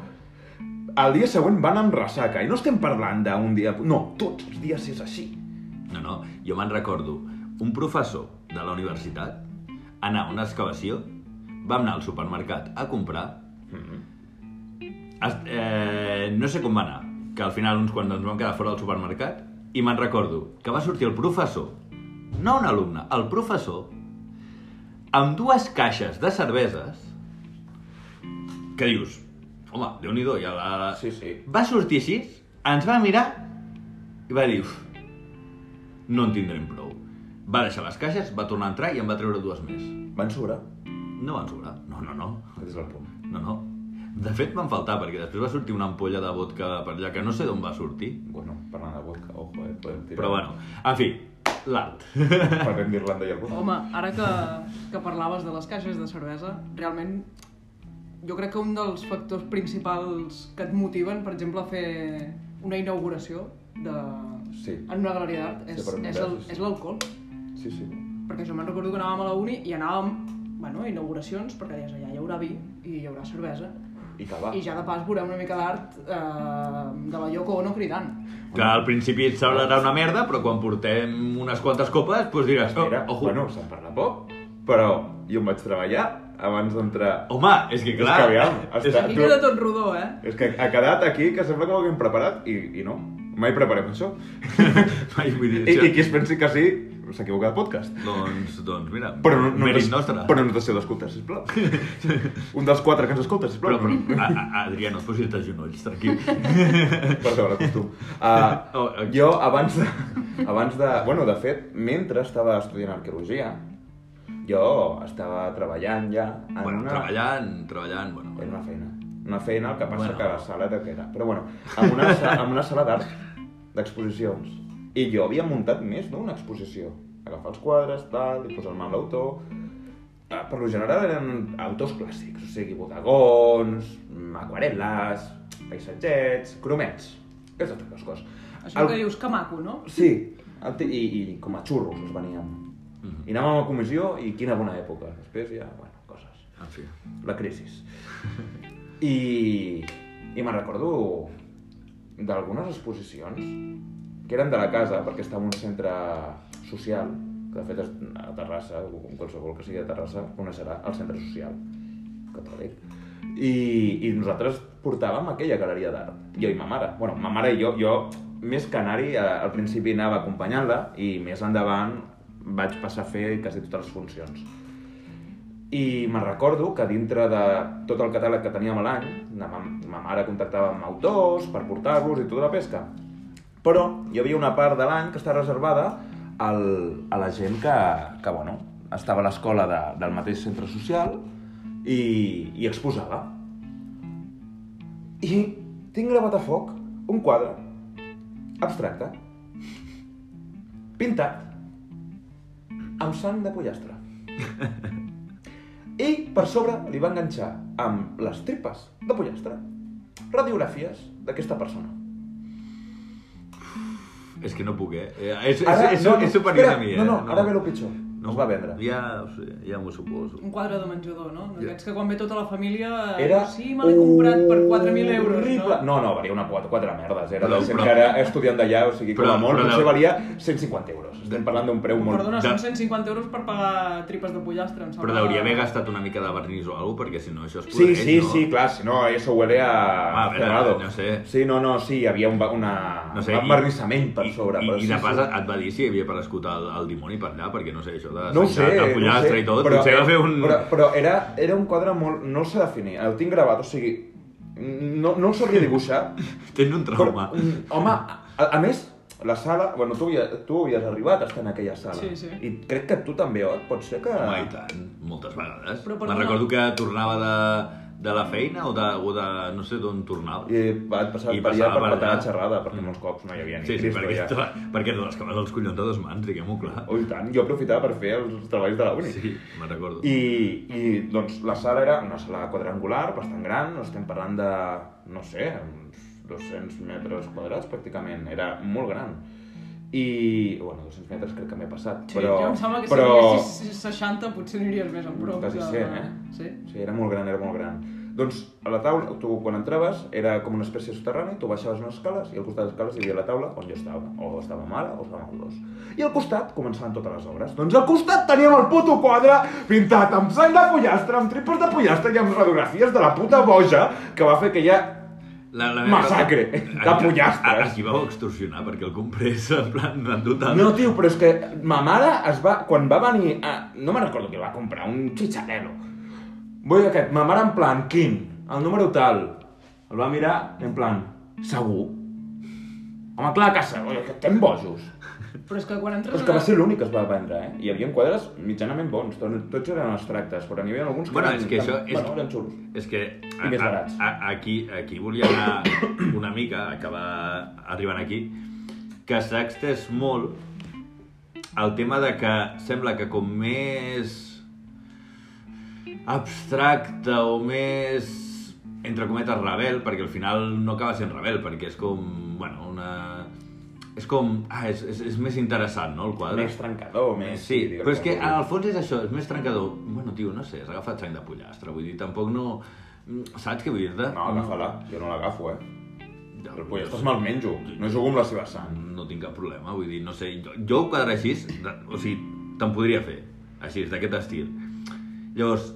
Speaker 2: el dia següent van amb ressaca. I no estem parlant d'un dia... No, tots els dies és així.
Speaker 1: No, no, jo me'n recordo. Un professor de la universitat anar a una excavació, vam anar al supermercat a comprar, es, eh, no sé com va anar, que al final uns quants ens vam quedar fora del supermercat, i me'n recordo que va sortir el professor, no un alumne, el professor, amb dues caixes de cerveses, que dius, home, déu-n'hi-do, ja la...
Speaker 2: Sí, sí.
Speaker 1: Va sortir així, ens va mirar i va dir, "Uf, no en tindrem prou. Va deixar les caixes, va tornar a entrar i en va treure dues més.
Speaker 2: Van sobrar.
Speaker 1: No van sobrar. No, no, no.
Speaker 2: Des del punt.
Speaker 1: No, no. De fet, van faltar, perquè després va sortir una ampolla de vodka per allà, que no sé d'on va sortir.
Speaker 2: Bueno, parlant de vodka, ojo, eh? Podem tirar.
Speaker 1: Però bueno, en fi, l'alt.
Speaker 2: Parlem d'Irlanda i el vodka.
Speaker 3: Home, ara que, que parlaves de les caixes de cervesa, realment jo crec que un dels factors principals que et motiven, per exemple, a fer una inauguració de...
Speaker 2: Sí.
Speaker 3: en una galeria d'art és,
Speaker 2: Sí, per mi
Speaker 3: és el-
Speaker 2: sí.
Speaker 3: és l'alcohol.
Speaker 2: Sí, sí.
Speaker 3: Perquè jo me'n recordo que anàvem a la uni i anàvem bueno, a inauguracions, perquè deies allà hi haurà vi i hi haurà cervesa.
Speaker 2: I tabac.
Speaker 3: I ja de pas veurem una mica d'art eh, de la Yoko Ono cridant.
Speaker 1: Que al principi et semblarà una merda, però quan portem unes quantes copes, doncs diràs, oh,
Speaker 2: Espera,
Speaker 1: ojo.
Speaker 2: bueno, se'n parla poc, però jo em vaig treballar abans d'entrar.
Speaker 1: Home, és que clar...
Speaker 2: És que aviam, està-
Speaker 3: Aquí
Speaker 2: tu-
Speaker 3: queda tot rodó, eh?
Speaker 2: És que ha quedat aquí que sembla que ho haguem preparat i, i no. Mai preparem això.
Speaker 1: Ai, vull dir,
Speaker 2: I,
Speaker 1: això-
Speaker 2: I qui es pensi que sí, s'ha equivocat de podcast.
Speaker 1: Doncs, doncs mira,
Speaker 2: Però no, no,
Speaker 1: mèrit
Speaker 2: ens-
Speaker 1: nostre.
Speaker 2: però no ens deixeu d'escoltar, sisplau. Un dels quatre que ens escolta, sisplau.
Speaker 1: Però, però, a, a, Adrià, no es posis de genolls, tranquil.
Speaker 2: Perdó, l'acostum. Uh,
Speaker 1: Oh, ok.
Speaker 2: jo, abans de, abans de... Bueno, de fet, mentre estava estudiant arqueologia, jo estava treballant ja en
Speaker 1: bueno,
Speaker 2: una...
Speaker 1: treballant, treballant, bueno.
Speaker 2: Era una feina. Una feina, el que passa
Speaker 1: Bueno.
Speaker 2: bueno. que la sala era que era. Però bueno, en una, sa- en una sala d'art, d'exposicions. I jo havia muntat més d'una exposició. Agafar els quadres, tal, i posar el nom a l'autor... Eh, Per lo general eren autors clàssics, o sigui, bodegons, mm, aquarel·les, paisatgets, cromets, aquestes totes coses.
Speaker 3: Això que dius que maco, no?
Speaker 2: Sí, el ti- i, i com a xurros els veníem. I anàvem a la comissió i quina bona època. Després ja, bueno, coses
Speaker 1: En fi.
Speaker 2: la crisi. I, i me'n recordo d'algunes exposicions que eren de la casa, perquè estava en un centre social, que de fet és a Terrassa, o com qualsevol que sigui de Terrassa, coneixerà el centre social catòlic. I, i nosaltres portàvem aquella galeria d'art, jo i ma mare. Bueno, ma mare i jo, jo més que anar-hi, eh, al principi anava acompanyant-la i més endavant vaig passar a fer quasi totes les funcions. I me'n recordo que dintre de tot el catàleg que teníem a l'any, la ma, ma mare contactava amb autors per portar-los i tota la pesca. Però hi havia una part de l'any que està reservada al, a la gent que, que bueno, estava a l'escola de, del mateix centre social i, i exposava. I tinc gravat a foc un quadre abstracte, pintat, amb sang de pollastre. I per sobre li va enganxar amb les tripes de pollastre radiografies d'aquesta persona.
Speaker 1: És que no puc, eh? Eh, És, és, és, és, superior
Speaker 2: espera,
Speaker 1: a mi, eh?
Speaker 2: No, no, ara ve el pitjor. No. Es va vendre.
Speaker 1: Ja, ho sé, ja m'ho suposo.
Speaker 3: Un quadre de menjador, no? D'aquests que quan ve tota la família... eh,
Speaker 2: Era
Speaker 3: Sí, me l'he comprat per 4.000 euros,
Speaker 2: horrible.
Speaker 3: no?
Speaker 2: No, no, valia una quatre, quatre merdes. eh? Era
Speaker 1: Però-
Speaker 2: però, però,
Speaker 1: però-
Speaker 2: que era estudiant d'allà, o sigui, com
Speaker 1: Però-
Speaker 2: a molt,
Speaker 1: però-
Speaker 2: potser valia 150 euros. Estem parlant d'un preu molt...
Speaker 3: Perdona,
Speaker 1: de-
Speaker 3: són 150 euros per pagar tripes de pollastre, em sembla.
Speaker 1: Però deuria haver gastat una mica de vernís o alguna cosa, perquè si no això es
Speaker 2: Sí,
Speaker 1: podreix,
Speaker 2: sí,
Speaker 1: no?
Speaker 2: sí, clar, si no, eso huele a...
Speaker 1: Ah, a veure,
Speaker 2: cerrado.
Speaker 1: no sé.
Speaker 2: Sí, no, no, sí, hi havia un, va- una...
Speaker 1: No sé,
Speaker 2: un vernissament per
Speaker 1: i,
Speaker 2: sobre.
Speaker 1: I,
Speaker 2: però
Speaker 1: i
Speaker 2: sí,
Speaker 1: de pas
Speaker 2: sí.
Speaker 1: et va dir si hi havia per escoltar el, el dimoni per allà, perquè no sé, això de
Speaker 2: No ho sé,
Speaker 1: de pollastre
Speaker 2: no ho sé,
Speaker 1: i tot, potser va fer un...
Speaker 2: Però, però era, era un quadre molt... No el sé definir, el tinc gravat, o sigui... No, no el sabria dibuixar.
Speaker 1: Tens un trauma.
Speaker 2: Però, mm, home, a, a més, la sala... Bueno, tu, havia, tu havies arribat a estar en aquella sala.
Speaker 3: Sí, sí.
Speaker 2: I crec que tu també, oi? Pot ser que...
Speaker 1: Home, i tant, moltes vegades.
Speaker 3: Però,
Speaker 1: Me'n
Speaker 3: perdona.
Speaker 1: recordo que tornava de, de la feina o de, o de no sé d'on tornava.
Speaker 2: I vaig passar
Speaker 1: I
Speaker 2: per allà
Speaker 1: passava
Speaker 2: per
Speaker 1: per
Speaker 2: patar
Speaker 1: allà. Mm.
Speaker 2: la xerrada, perquè molts cops no hi havia ni
Speaker 1: Sí, sí,
Speaker 2: Cristo
Speaker 1: perquè,
Speaker 2: allà.
Speaker 1: ja. perquè te les cames els collons a dos mans, diguem-ho clar.
Speaker 2: Oh, i tant, jo aprofitava per fer els treballs de la uni.
Speaker 1: Sí, me'n recordo.
Speaker 2: I,
Speaker 3: Mm.
Speaker 2: I, doncs, la sala era una sala quadrangular, bastant gran, estem parlant de, no sé, uns 200 metres quadrats, pràcticament. Era molt gran. I, bueno, 200 metres crec que m'he passat,
Speaker 3: Sí,
Speaker 2: però...
Speaker 3: jo em sembla que
Speaker 2: però...
Speaker 3: si diguessis 60 potser aniries més en prop.
Speaker 2: Quasi
Speaker 3: de-
Speaker 2: 100, eh?
Speaker 3: Sí.
Speaker 2: Sí, era molt gran, era molt gran. Doncs a la taula, tu quan entraves, era com una espècie de soterrani, tu baixaves unes escales i al costat de les escales hi havia la taula on jo estava, o estava mare o estàvem els dos. I al costat començaven totes les obres. Doncs al costat teníem el puto quadre pintat amb sang de pollastre, amb tripes de pollastre i amb radiografies de la puta boja que va fer que ja...
Speaker 1: La, la
Speaker 2: Massacre, de pollastres.
Speaker 1: Aquí vau extorsionar perquè el comprés en plan en total.
Speaker 2: No, tio, però és que ma mare es va... Quan va venir... A... No me'n recordo que va comprar, un xicharelo. Vull dir aquest, ma mare en plan, quin? El número tal. El va mirar en plan, segur? Home, clar que segur, que estem bojos.
Speaker 3: Però és que quan entres...
Speaker 2: Però és que va ser l'únic que es va vendre, eh? Hi havia quadres mitjanament bons, tot- tots eren abstractes, però n'hi havia alguns que,
Speaker 1: Bueno,
Speaker 2: eren,
Speaker 1: és que això... És,
Speaker 2: bueno, eren xulos.
Speaker 1: és que
Speaker 2: I més barats.
Speaker 1: a, aquí, aquí volia anar una mica, acabar arribant aquí, que s'ha extès molt el tema de que sembla que com més abstracte o més entre cometes rebel, perquè al final no acaba sent rebel, perquè és com, bueno, una... És com... Ah, és, és, és més interessant, no, el quadre?
Speaker 2: Més trencador, més...
Speaker 1: Sí,
Speaker 2: digues
Speaker 1: però és que
Speaker 2: com vulguis.
Speaker 1: al fons és això, és més trencador. Bueno, tio, no sé, has agafat sang de pollastre, vull dir, tampoc no... mm, Saps què vull dir-te?
Speaker 2: No, agafa-la, jo no l'agafo, eh?
Speaker 1: Ja,
Speaker 2: El pollastre me'l menjo, no jugo amb la seva sang.
Speaker 1: No tinc cap problema, vull dir, no sé, jo, jo un quadre així, de- o sigui, te'n podria fer, així, d'aquest estil. Llavors,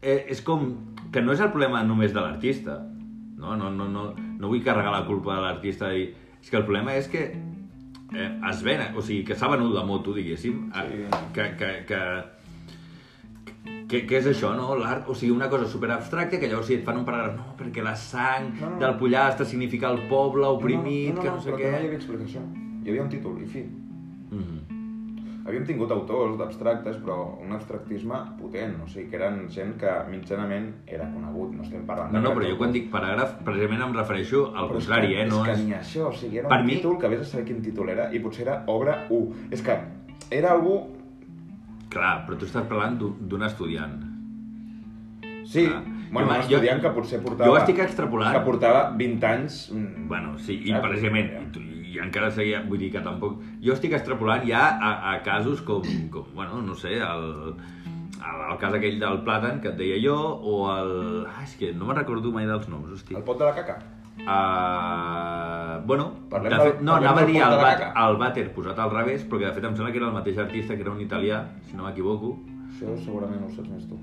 Speaker 1: eh, és com que no és el problema només de l'artista. No, no, no, no, no vull carregar la culpa de l'artista i... És que el problema és que eh, es ven, o sigui, que s'ha venut la moto, diguéssim, sí. que, que, que, que, que és això, no? L'art, o sigui, una cosa superabstracta que llavors si et fan un paràgraf, no, perquè la sang
Speaker 2: No, no, no.
Speaker 1: del pollastre significa el poble oprimit,
Speaker 2: no, no, no, no,
Speaker 1: que no sé què...
Speaker 2: però Que no hi havia explicació. Hi havia un títol, i fi.
Speaker 1: Mhm.
Speaker 2: Havíem tingut autors d'abstractes, però un abstractisme potent, o sigui, que eren gent que mitjanament era conegut, no estem parlant...
Speaker 1: No,
Speaker 2: de
Speaker 1: no,
Speaker 2: grans
Speaker 1: però jo quan dic paràgraf, precisament em refereixo al
Speaker 2: Però és
Speaker 1: contrari,
Speaker 2: que-
Speaker 1: eh? No
Speaker 2: és...
Speaker 1: és...
Speaker 2: que ni això, o sigui, era
Speaker 1: Per
Speaker 2: un
Speaker 1: mi-
Speaker 2: títol que vés a saber quin títol era, i potser era obra 1. És que era algú...
Speaker 1: Clar, però tu estàs parlant d'un d'un estudiant.
Speaker 2: Sí,
Speaker 1: Clar. Ah, Jo-
Speaker 2: bueno, un
Speaker 1: jo-
Speaker 2: estudiant que potser portava...
Speaker 1: jo estic extrapolant.
Speaker 2: Que portava 20 anys... mm,
Speaker 1: Bueno, sí, i
Speaker 2: saps?
Speaker 1: precisament, i, tu- i encara seguia, vull dir que tampoc... Jo estic extrapolant ja a, a casos com, com, bueno, no sé, el, el, el cas aquell del plàtan que et deia jo, o el... Ah, és que no me'n recordo mai dels noms, hosti.
Speaker 2: El pot de la caca.
Speaker 1: Uh, bueno,
Speaker 2: Parlem
Speaker 1: de
Speaker 2: del-
Speaker 1: fet, no,
Speaker 2: parlem
Speaker 1: anava a
Speaker 2: del
Speaker 1: dir
Speaker 2: pont
Speaker 1: el,
Speaker 2: de la
Speaker 1: bat,
Speaker 2: Caca.
Speaker 1: el vàter posat al revés, però que de fet em sembla que era el mateix artista, que era un italià, si no m'equivoco.
Speaker 2: Això segurament ho saps més tu.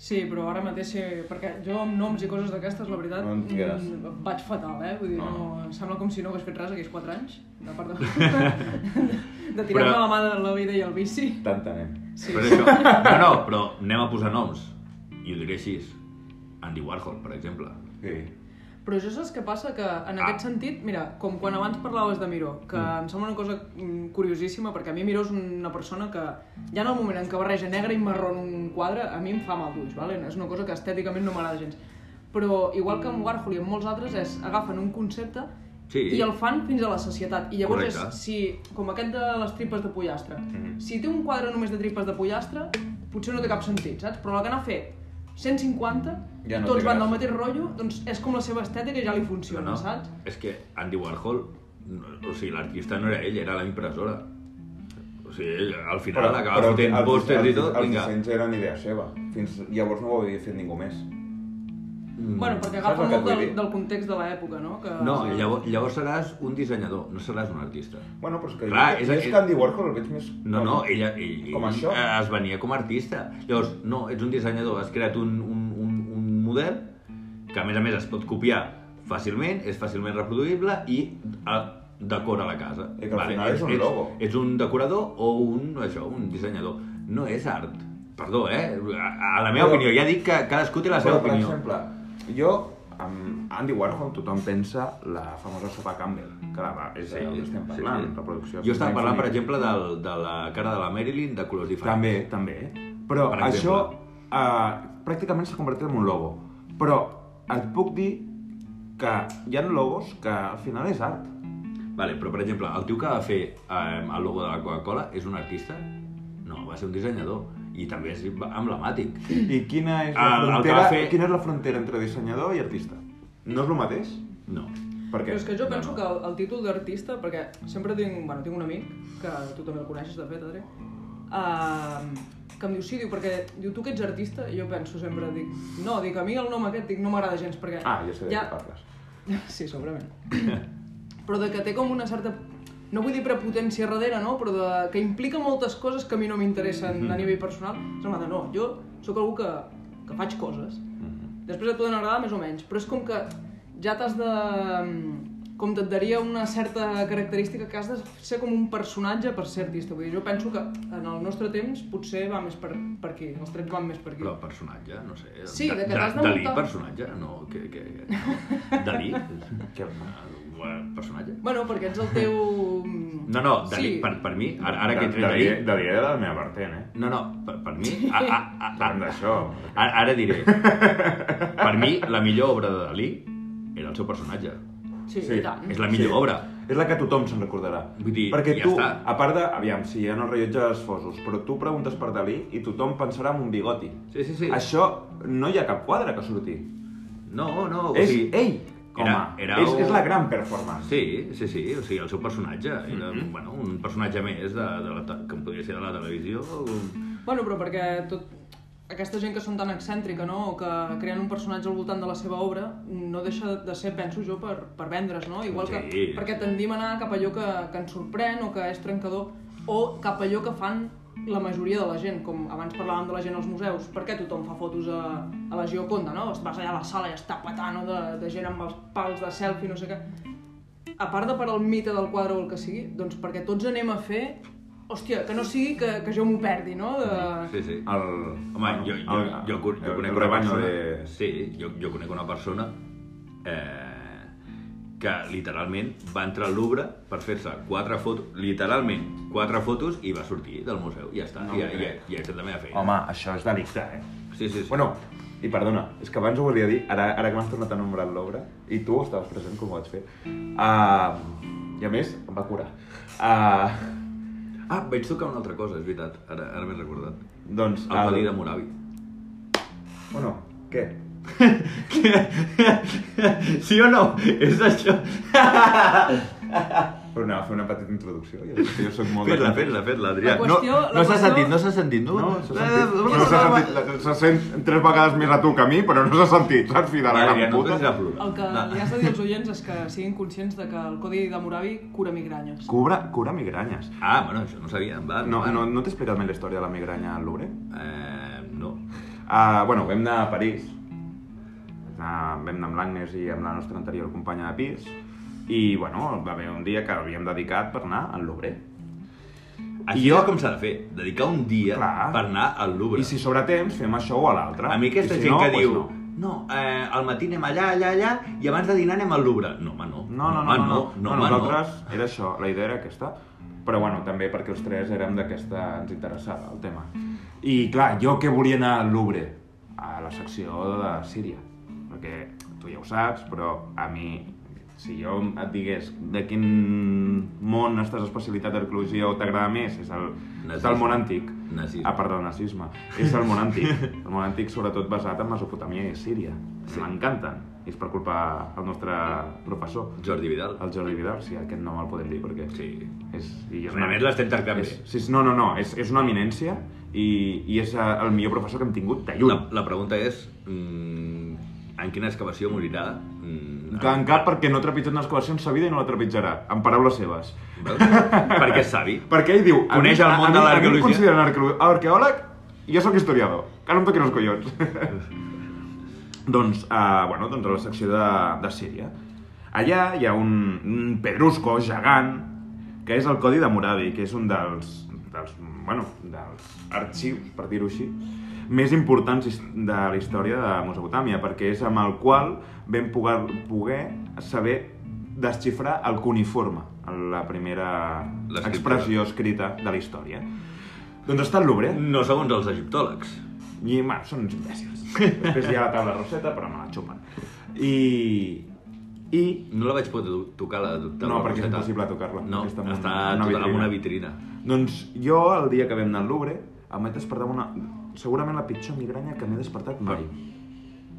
Speaker 3: Sí, però ara mateix, eh, perquè jo amb noms i coses d'aquestes, la veritat,
Speaker 2: No en tingueràs.
Speaker 3: mm, vaig fatal, eh? Vull dir,
Speaker 2: No.
Speaker 3: no. em sembla com si no hagués fet res aquests 4 anys, de part de, de tirar-me
Speaker 1: Però-
Speaker 3: la mà de la vida i el bici.
Speaker 2: T'entenem.
Speaker 1: Sí.
Speaker 3: Sí,
Speaker 1: Però això... No, no, però anem a posar noms, i ho diré així. Andy Warhol, per exemple.
Speaker 2: Sí.
Speaker 3: Però això saps què passa? Que en
Speaker 1: Ah.
Speaker 3: aquest sentit, mira, com quan abans parlaves de Miró, que em sembla una cosa mm, curiosíssima, perquè a mi Miró és una persona que ja en el moment en què barreja negre i marró en un quadre, a mi em fa mal d'ulls, ¿vale? és una cosa que estèticament no m'agrada gens. Però igual que amb Warhol i amb molts altres, és agafen un concepte
Speaker 1: Sí.
Speaker 3: i el fan fins a la societat. I llavors
Speaker 1: Correcte. Mm-hmm.
Speaker 3: és, si, com aquest de les tripes de pollastre, si té un quadre només de tripes de pollastre, potser no té cap sentit, saps? Però la que n'ha fet 150,
Speaker 2: Ja no
Speaker 3: tots
Speaker 2: té
Speaker 3: van del
Speaker 2: gràcia.
Speaker 3: mateix rotllo, doncs és com la seva estètica i ja li
Speaker 1: No,
Speaker 3: funciona,
Speaker 1: no,
Speaker 3: saps?
Speaker 1: és que Andy Warhol, no, o sigui, l'artista no era ell, era la impressora. O sigui, ell, al final però, acaba però, fotent
Speaker 2: els-
Speaker 1: pòsters
Speaker 2: els-
Speaker 1: i tot,
Speaker 2: Els
Speaker 1: vinga.
Speaker 2: dissenys eren idea seva. Fins llavors no ho havia fet ningú més.
Speaker 1: Mm.
Speaker 3: Bueno, perquè
Speaker 2: Saps
Speaker 3: agafa
Speaker 2: el que et
Speaker 3: molt
Speaker 2: vull
Speaker 3: del,
Speaker 2: dir?
Speaker 3: del context de l'època, no? Que,
Speaker 1: No, llavors, llavors seràs un dissenyador, no seràs un artista.
Speaker 2: Bueno, però és que
Speaker 1: Clar,
Speaker 2: jo,
Speaker 1: és-
Speaker 2: jo és,
Speaker 1: és-
Speaker 2: que Andy Warhol el veig més...
Speaker 1: No, no, ella, ell,
Speaker 2: Com
Speaker 1: ell
Speaker 2: això?
Speaker 1: eh, es venia com a artista. Llavors, no, ets un dissenyador, has creat un, un, un, un model que a més a més es pot copiar fàcilment, és fàcilment reproduïble i eh, decora la casa.
Speaker 2: I Eh, que al final és un
Speaker 1: ets,
Speaker 2: logo.
Speaker 1: Ets un decorador o un, això, un dissenyador. No és art. Perdó, eh? A, a la meva
Speaker 2: Però-
Speaker 1: opinió, ja dic que cadascú té la seva
Speaker 2: Però, per
Speaker 1: opinió.
Speaker 2: exemple, jo amb Andy Warhol tothom pensa la famosa sopa Campbell, que la va, és sí, el que estem parlant, sí, sí. reproducció.
Speaker 1: Jo estava parlant, per exemple, del, de la cara de la Marilyn de colors diferents.
Speaker 2: També, també. Però
Speaker 1: Per
Speaker 2: això
Speaker 1: exemple.
Speaker 2: eh, pràcticament s'ha convertit en un logo. Però et puc dir que hi ha logos que al final és art.
Speaker 1: Vale, però per exemple, el tio que va fer eh, el logo de la Coca-Cola és un artista? No, va ser un dissenyador i també és emblemàtic.
Speaker 2: I quina és la,
Speaker 1: Ah, el que
Speaker 2: frontera,
Speaker 1: va fer-
Speaker 2: quina és la frontera entre dissenyador i artista? No és el mateix?
Speaker 1: No.
Speaker 2: Per què?
Speaker 3: Però és que jo
Speaker 1: No,
Speaker 3: penso
Speaker 1: no.
Speaker 3: que el, el títol d'artista, perquè sempre tinc, bueno, tinc un amic, que tu també el coneixes, de fet, Adri, uh, que em diu, sí, diu, perquè diu, tu que ets artista, i jo penso sempre, dic, no, dic, a mi el nom aquest, dic, no m'agrada gens, perquè...
Speaker 2: Ah, ja sé de què parles.
Speaker 3: Sí, segurament. però de que té com una certa no vull dir prepotència darrere, no? però de, que implica moltes coses que a mi no m'interessen
Speaker 1: Mhm.
Speaker 3: a nivell personal. Sembla de no, jo sóc algú que, que faig coses.
Speaker 1: Mhm.
Speaker 3: Després et poden agradar més o menys, però és com que ja t'has de... mm, com et daria una certa característica que has de ser com un personatge per ser artista. Vull dir, jo penso que en el nostre temps potser va més per, per aquí, els trets van més per aquí.
Speaker 1: Però personatge, no sé...
Speaker 3: Sí, de que t'has de
Speaker 1: Dalí,
Speaker 3: muntar-
Speaker 1: personatge? No, que... que, que Dalí?
Speaker 2: Què?
Speaker 1: Bueno, personatge?
Speaker 3: Bueno, perquè ets el teu... mm,
Speaker 1: No, no, Dalí,
Speaker 3: Sí.
Speaker 1: per, per mi, ara, ara que he tret
Speaker 4: Dalí,
Speaker 1: Dalí...
Speaker 4: Dalí era de la meva vertent, eh?
Speaker 1: No, no, per, per mi... A, a, a, a,
Speaker 4: Parlem d'això.
Speaker 1: ara, ara diré. Per mi, la millor obra de Dalí era el seu personatge.
Speaker 3: Sí,
Speaker 2: Sí.
Speaker 3: i tant.
Speaker 1: És la millor obra.
Speaker 2: És la que tothom se'n recordarà.
Speaker 1: Vull dir,
Speaker 2: Perquè
Speaker 1: ja
Speaker 2: tu,
Speaker 1: està.
Speaker 2: a part de... Aviam, si sí, hi ha els rellotges fosos, però tu preguntes per Dalí i tothom pensarà en un bigoti.
Speaker 1: Sí, sí, sí.
Speaker 2: Això no hi ha cap quadre que surti.
Speaker 1: No, no, o
Speaker 2: és
Speaker 1: sigui...
Speaker 2: ell, home.
Speaker 1: era- era
Speaker 2: és,
Speaker 1: un-
Speaker 2: és la gran performance.
Speaker 1: Sí, sí, sí, o sigui, el seu personatge era,
Speaker 2: Mhm.
Speaker 1: bueno, un personatge més de, de la, te- que podria ser de la televisió. o-
Speaker 3: Bueno, però perquè tot... Aquesta gent que són tan excèntrica, no?, o que creen un personatge al voltant de la seva obra, no deixa de ser, penso jo, per, per vendre's, no? Igual que...
Speaker 1: Sí.
Speaker 3: Perquè tendim a anar cap a allò que, que ens sorprèn o que és trencador o cap a allò que fan la majoria de la gent, com abans parlàvem de la gent als museus, per què tothom fa fotos a, a la Gioconda, no? Vas allà a la sala i està petant no? de, de gent amb els pals de selfie, no sé què. A part de per al mite del quadre o el que sigui, doncs perquè tots anem a fer... Hòstia, que no sigui que, que jo m'ho perdi, no? De...
Speaker 1: Sí, sí.
Speaker 2: El...
Speaker 1: Home, jo, jo,
Speaker 2: el-
Speaker 1: jo, jo,
Speaker 2: el-
Speaker 1: jo conec
Speaker 2: el
Speaker 1: una
Speaker 2: rebaño
Speaker 1: persona...
Speaker 2: de-
Speaker 1: Sí, jo, jo conec una persona eh, que literalment va entrar al Louvre per fer-se quatre fotos, literalment quatre fotos i va sortir del museu, ja està,
Speaker 2: No
Speaker 1: no ja,
Speaker 2: ho
Speaker 1: ja,
Speaker 2: crec.
Speaker 1: ja he fet la meva feina.
Speaker 2: Home, això és delicte, eh?
Speaker 1: Sí, sí, sí.
Speaker 2: Bueno,
Speaker 5: I perdona, és que abans ho volia dir, ara, ara que m'has tornat a nombrar l'obra, i tu estaves present com ho vaig fer, uh, i a més em va curar. Uh,
Speaker 1: Ah, vaig tocar una altra cosa, és veritat, ara, ara m'he recordat.
Speaker 5: doncs...
Speaker 1: El palí de Moravi.
Speaker 5: Bueno, què?
Speaker 1: sí o no? És això.
Speaker 5: Però anava a fer una petita introducció, jo, jo soc molt... de-
Speaker 1: Fes-la, fes-la, fes-la, Adrià.
Speaker 3: La qüestió-
Speaker 1: no, no
Speaker 3: la
Speaker 1: s'ha
Speaker 3: qüestió-
Speaker 1: sentit, no s'ha sentit, no?
Speaker 2: No, s'ha
Speaker 1: Eh,
Speaker 2: sentit. No
Speaker 1: bueno,
Speaker 2: s'ha
Speaker 1: va, va.
Speaker 2: sentit. la- Se sent tres vegades més a tu que a mi, però no s'ha sentit, saps? Fill de la
Speaker 1: Vale, ja
Speaker 2: gran
Speaker 1: no
Speaker 2: puta.
Speaker 1: t'has plorar.
Speaker 3: El que li has de dir als oients és que siguin conscients de que el codi de Moravi cura migranyes.
Speaker 2: Cura, cura migranyes.
Speaker 1: Ah, bueno, això no sabia, em va.
Speaker 2: No, eh,
Speaker 1: em va.
Speaker 2: no, no t'he explicat mai la història de la migranya al Louvre?
Speaker 1: Eh, no.
Speaker 2: Uh, bueno,
Speaker 5: Bueno, vam anar a París,
Speaker 2: Ah, vam anar amb l'Agnes i amb la nostra anterior companya de pis i bueno, va haver un dia que l'havíem dedicat per anar al Louvre.
Speaker 1: Així
Speaker 2: I jo-
Speaker 1: és com s'ha de fer, dedicar un dia
Speaker 2: Clar.
Speaker 1: per anar al Louvre.
Speaker 2: I si sobre temps fem això o a l'altre.
Speaker 1: A mi aquesta
Speaker 2: I si
Speaker 1: gent
Speaker 2: no,
Speaker 1: que
Speaker 2: doncs
Speaker 1: diu...
Speaker 2: no.
Speaker 1: No, eh, al matí anem allà, allà, allà, i abans de dinar anem al Louvre. No, home, no.
Speaker 2: No, no, no,
Speaker 1: home,
Speaker 2: no,
Speaker 1: Ah, no, no, home,
Speaker 2: nosaltres era això, la idea era aquesta. Però bueno, també perquè els tres érem d'aquesta, ens interessava el tema. I clar, jo que volia anar al Louvre, a la secció de Síria, perquè tu ja ho saps, però a mi, si jo et digués de quin món estàs especialitat d'arqueologia o t'agrada més, és el, és
Speaker 1: Nazisme.
Speaker 2: el món antic.
Speaker 1: Nazisme.
Speaker 2: Ah, perdó, nazisme. És el món antic. El món antic sobretot basat en Mesopotàmia i Síria. Sí. M'encanten. I és per culpa del nostre professor.
Speaker 1: Jordi Vidal.
Speaker 2: El Jordi Vidal, sí, aquest nom el podem dir perquè...
Speaker 1: Sí.
Speaker 2: És, i
Speaker 1: A més, l'estem tractant
Speaker 2: és,
Speaker 1: bé.
Speaker 2: sí, és- no, no, no, és, és una eminència i, i és eh, el millor professor que hem tingut de lluny.
Speaker 1: La, la pregunta és... Mm, en quina excavació morirà? Mm,
Speaker 2: Que en cap perquè no ha trepitjat una excavació en sa vida i no la trepitjarà, en paraules seves.
Speaker 1: Veus? perquè és savi.
Speaker 2: Perquè ell diu... a
Speaker 1: Coneix
Speaker 2: mi-
Speaker 1: el
Speaker 2: a-
Speaker 1: món de
Speaker 2: a mi- A mi
Speaker 1: l'arqueologia.
Speaker 2: em consideren arqueolo- arqueòleg i jo sóc historiador. Que no em toquin els collons. doncs, uh, bueno, doncs a la secció de, de Síria. Allà hi ha un, un pedrusco gegant que és el Codi de Moravi, que és un dels, dels, bueno, dels arxius, per dir-ho així, més importants his- de la història de Mesopotàmia, perquè és amb el qual vam poder, poder saber desxifrar el cuniforme, la primera
Speaker 1: L'escriptura.
Speaker 2: expressió escrita de la història. Doncs està al Louvre.
Speaker 1: No segons els egiptòlegs.
Speaker 2: I, bueno, són uns imbècils. Després hi ha la taula roseta, però me la xupen. I... I...
Speaker 1: No la vaig poder to- tocar, la de
Speaker 2: No, perquè és impossible tocar-la.
Speaker 1: No,
Speaker 2: Aquesta
Speaker 1: està tota
Speaker 2: amb una
Speaker 1: amb
Speaker 2: vitrina.
Speaker 1: una vitrina.
Speaker 2: Doncs jo, el dia que vam anar al Louvre, em vaig despertar amb una... Segurament la pitjor migranya que m'he despertat mai.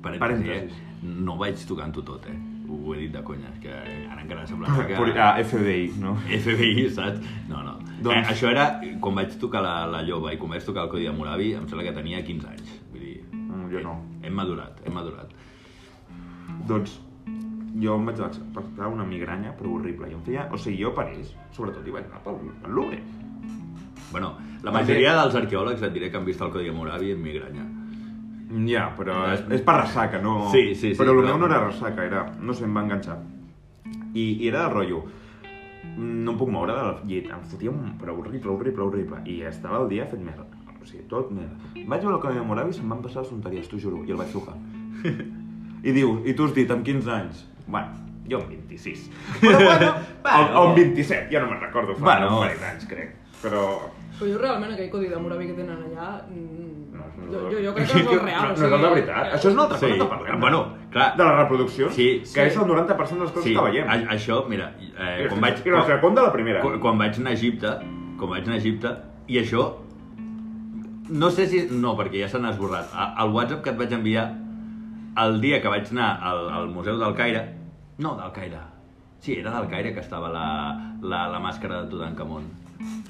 Speaker 1: Parèntesis,
Speaker 2: Parèntesis.
Speaker 1: eh? No vaig tocant-ho tot, eh? Ho he dit de conya, és que ara encara sembla que...
Speaker 2: Puri- Ah, FBI, no?
Speaker 1: FBI, saps? No, no. Doncs...
Speaker 2: Doncs-
Speaker 1: Eh, això era quan vaig tocar la, la lloba i quan vaig tocar el Codi de Moravi, em sembla que tenia 15 anys. Vull dir,
Speaker 2: Mm, jo no.
Speaker 1: hem madurat, hem madurat.
Speaker 2: Doncs jo em vaig despertar una migranya, però horrible. I em feia... O sigui, jo a París, sobretot, hi vaig anar pel pel Louvre.
Speaker 1: Bueno, la
Speaker 2: També-
Speaker 1: majoria dels arqueòlegs et diré que han vist el Codi de Moravi en migranya.
Speaker 2: Ja, però és, és per ressaca, no...
Speaker 1: Sí, sí, sí,
Speaker 2: Però el
Speaker 1: però-
Speaker 2: meu no era ressaca, era... No sé, em va enganxar. I, i era del rotllo... mm, No em puc moure del llit. Em fotia un... Però horrible, horrible, horrible. I estava el dia fet merda. O sigui, tot merda. Vaig veure el que m'enamorava i se'm van passar les tonteries, t'ho juro. I el vaig trucar. I diu, i tu has dit, amb 15 anys? Bueno, jo amb 26. Però bueno, va, o, o amb 27, ja no me'n recordo. Fa
Speaker 1: Bueno.
Speaker 2: bueno. un parell d'anys, crec. Però...
Speaker 3: Però jo realment aquell codi de Moravi que tenen allà... mm,
Speaker 2: No, no,
Speaker 3: jo, jo, jo crec que no és el
Speaker 2: No,
Speaker 3: real. eh,
Speaker 2: no és el de veritat. Això és una altra cosa que parlem.
Speaker 1: bueno, clar,
Speaker 2: de les reproduccions,
Speaker 1: Sí,
Speaker 2: que
Speaker 1: sí.
Speaker 2: és el 90% de les coses
Speaker 1: sí,
Speaker 2: que veiem.
Speaker 1: a, això, mira, eh, quan vaig...
Speaker 2: I la segona, la primera.
Speaker 1: quan, quan vaig anar a Egipte, quan vaig anar a Egipte, i això, no sé si... No, perquè ja s'han esborrat. A- El WhatsApp que et vaig enviar el dia que vaig anar al, al Museu del Caire... No, del Caire. Sí, era del Caire que estava la, la, la màscara de Tutankamon.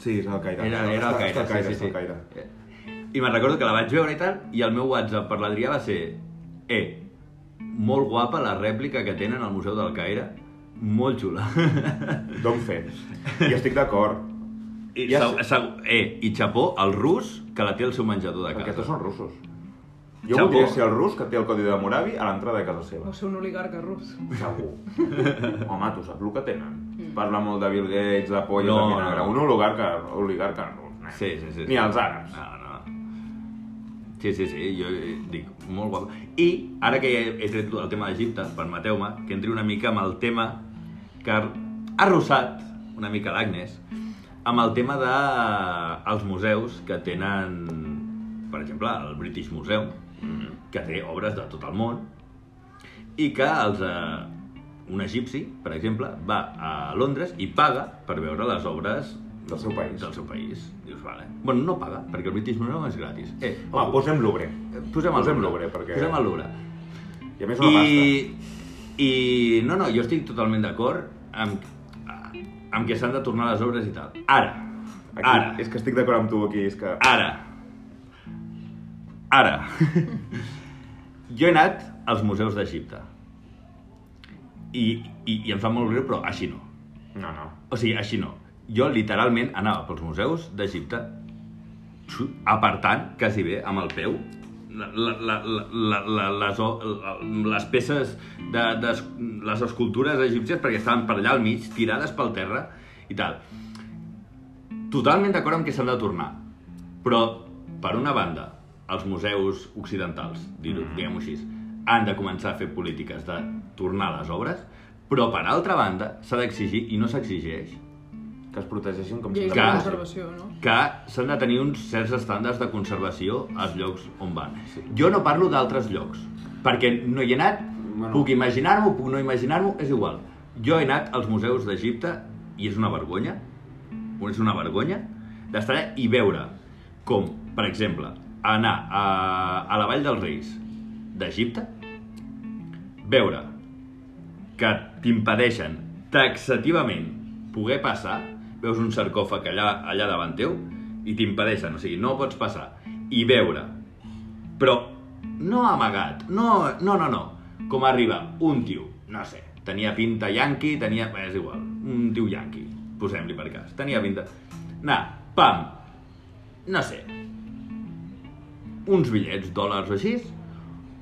Speaker 2: Sí, és el Caire.
Speaker 1: Era, era el Caire,
Speaker 2: Està, està,
Speaker 1: sí, sí,
Speaker 2: està Caire.
Speaker 1: sí. I me'n recordo que la vaig veure i tal, i el meu WhatsApp per l'Adrià va ser eh, molt guapa la rèplica que tenen al Museu del Caire, molt xula.
Speaker 2: Don't fer. I estic d'acord.
Speaker 1: I,
Speaker 2: Ja
Speaker 1: ja eh, I xapó al rus que la té al seu menjador de
Speaker 2: Perquè
Speaker 1: casa.
Speaker 2: tots són russos. Jo
Speaker 1: Xapó.
Speaker 2: voldria ser el rus que té el codi de Moravi a l'entrada de casa seva.
Speaker 3: O ser un oligarca rus.
Speaker 2: Segur. Home, tu saps el que tenen.
Speaker 3: Mm.
Speaker 2: Parla molt de Bill Gates, de polles,
Speaker 1: No,
Speaker 2: de vinagre.
Speaker 1: no.
Speaker 2: Un oligarca, oligarca rus. nen.
Speaker 1: Sí, sí, sí. Ah.
Speaker 2: Ni els àrabs.
Speaker 1: No, no. Sí, sí, sí, jo eh, dic, molt guapo. I, ara que ja he tret el tema d'Egipte, permeteu-me que entri una mica amb el tema que ha rossat una mica l'Agnes, amb el tema de eh, els museus que tenen, per exemple, el British Museum, que té obres de tot el món, i que els, eh, un egipci, per exemple, va a Londres i paga per veure les obres
Speaker 2: Del seu país.
Speaker 1: Del seu país. Dius, vale. Bueno, no paga, perquè el British Museum és gratis. Eh,
Speaker 2: Va,
Speaker 1: ojo,
Speaker 2: posem l'obre.
Speaker 1: eh, posem, el
Speaker 2: posem
Speaker 1: Louvre,
Speaker 2: l'Obre, perquè-
Speaker 1: Posem el Louvre.
Speaker 2: I a més una pasta.
Speaker 1: I, I no, no, jo estic totalment d'acord amb, amb que s'han de tornar les obres i tal. Ara,
Speaker 2: Aquí,
Speaker 1: ara,
Speaker 2: És que estic d'acord amb tu aquí, és que...
Speaker 1: Ara. Ara. jo he anat als museus d'Egipte. I, i, I em fa molt greu, però així no.
Speaker 2: No, no.
Speaker 1: O sigui, així no. Jo literalment anava pels museus d'Egipte xu- apartant quasi bé amb el peu la, la, la, la, la, les, o- la, les peces de, de les escultures egípcies perquè estaven per allà al mig, tirades pel terra i tal. Totalment d'acord amb que s'han de tornar, però, per una banda, els museus occidentals, dir-ho, diguem-ho així, han de començar a fer polítiques de tornar les obres, però, per altra banda, s'ha d'exigir, i no s'exigeix,
Speaker 2: Que es protegeixin com si...
Speaker 3: Lleis de
Speaker 1: Clar.
Speaker 3: conservació, no?
Speaker 1: que s'han de tenir uns certs estàndards de conservació als llocs on van. Jo no parlo d'altres llocs, perquè no hi he anat,
Speaker 2: Bueno.
Speaker 1: puc imaginar-m'ho, puc no imaginar-m'ho, és igual. Jo he anat als museus d'Egipte i és una vergonya, és una vergonya d'estar allà i veure com, per exemple, anar a, a la Vall dels Reis d'Egipte, veure que t'impedeixen taxativament poder passar, veus un sarcòfag allà, allà davant teu i t'impedeixen, o sigui, no pots passar i veure, però no amagat, no, no, no, no, com arriba un tio, no sé, tenia pinta yanqui, tenia, bé, és igual, un tio yanqui, posem-li per cas, tenia pinta, anar, pam, no sé, uns bitllets, dòlars o així,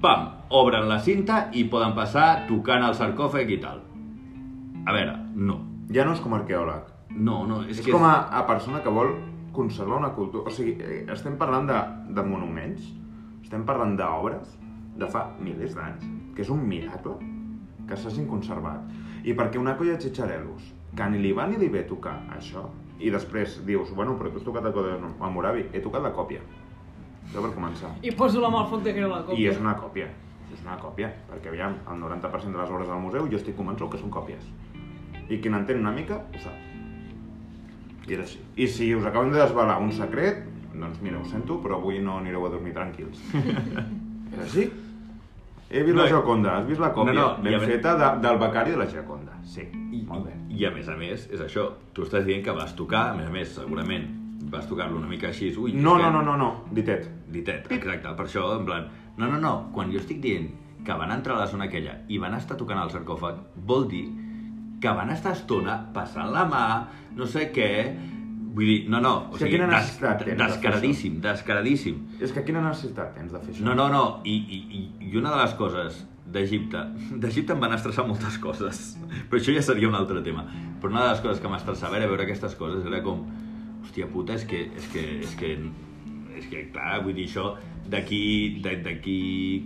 Speaker 1: pam, obren la cinta i poden passar tocant el sarcòfag i tal. A veure, no.
Speaker 2: Ja no és com a arqueòleg.
Speaker 1: No, no, és,
Speaker 2: És,
Speaker 1: que...
Speaker 2: com a, a persona que vol conservar una cultura. O sigui, eh, estem parlant de, de monuments, estem parlant d'obres de fa milers d'anys, que és un miracle que s'hagin conservat. I perquè una colla de xitxarelos, que ni li va ni li ve tocar això, i després dius, bueno, però tu has tocat a, Codenom, a Moravi, he tocat la còpia. Jo per començar.
Speaker 3: I poso la mà al foc de que era la copa.
Speaker 2: I és una còpia, és una còpia, perquè aviam, el 90% de les obres del museu jo estic convençut que són còpies. I qui n'entén una mica ho sap. I era així. I si us acabem de desvelar un secret, doncs mira, ho sento, però avui no anireu a dormir tranquils. Era així? He vist
Speaker 1: No,
Speaker 2: la
Speaker 1: i-
Speaker 2: Gioconda, has vist la còpia
Speaker 1: No, no, i a
Speaker 2: ben
Speaker 1: més-
Speaker 2: feta de, del becari de la Gioconda. Sí,
Speaker 1: I,
Speaker 2: molt bé.
Speaker 1: I a més a més, és això, tu estàs dient que vas tocar, a més a més, segurament, vas tocar-lo una mica així, ui...
Speaker 2: No,
Speaker 1: és
Speaker 2: no,
Speaker 1: que-
Speaker 2: no, no, no, ditet.
Speaker 1: Ditet, exacte, per això, en plan... No, no, no, quan jo estic dient que van entrar a la zona aquella i van estar tocant el sarcòfag, vol dir que van estar estona passant la mà, no sé què... Vull dir, no, no, o
Speaker 2: És que
Speaker 1: sigui,
Speaker 2: quina
Speaker 1: des,
Speaker 2: necessitat tens de fer això?
Speaker 1: descaradíssim, descaradíssim.
Speaker 2: És que quina necessitat tens de fer això?
Speaker 1: No, no, no, i, i, i- i una de les coses d'Egipte, d'Egipte em van estressar moltes coses, però això ja seria un altre tema, però una de les coses que m'estressava era veure aquestes coses, era com, hòstia puta, és que, és que, és que, és que clar, vull dir, això d'aquí, d'a- d'aquí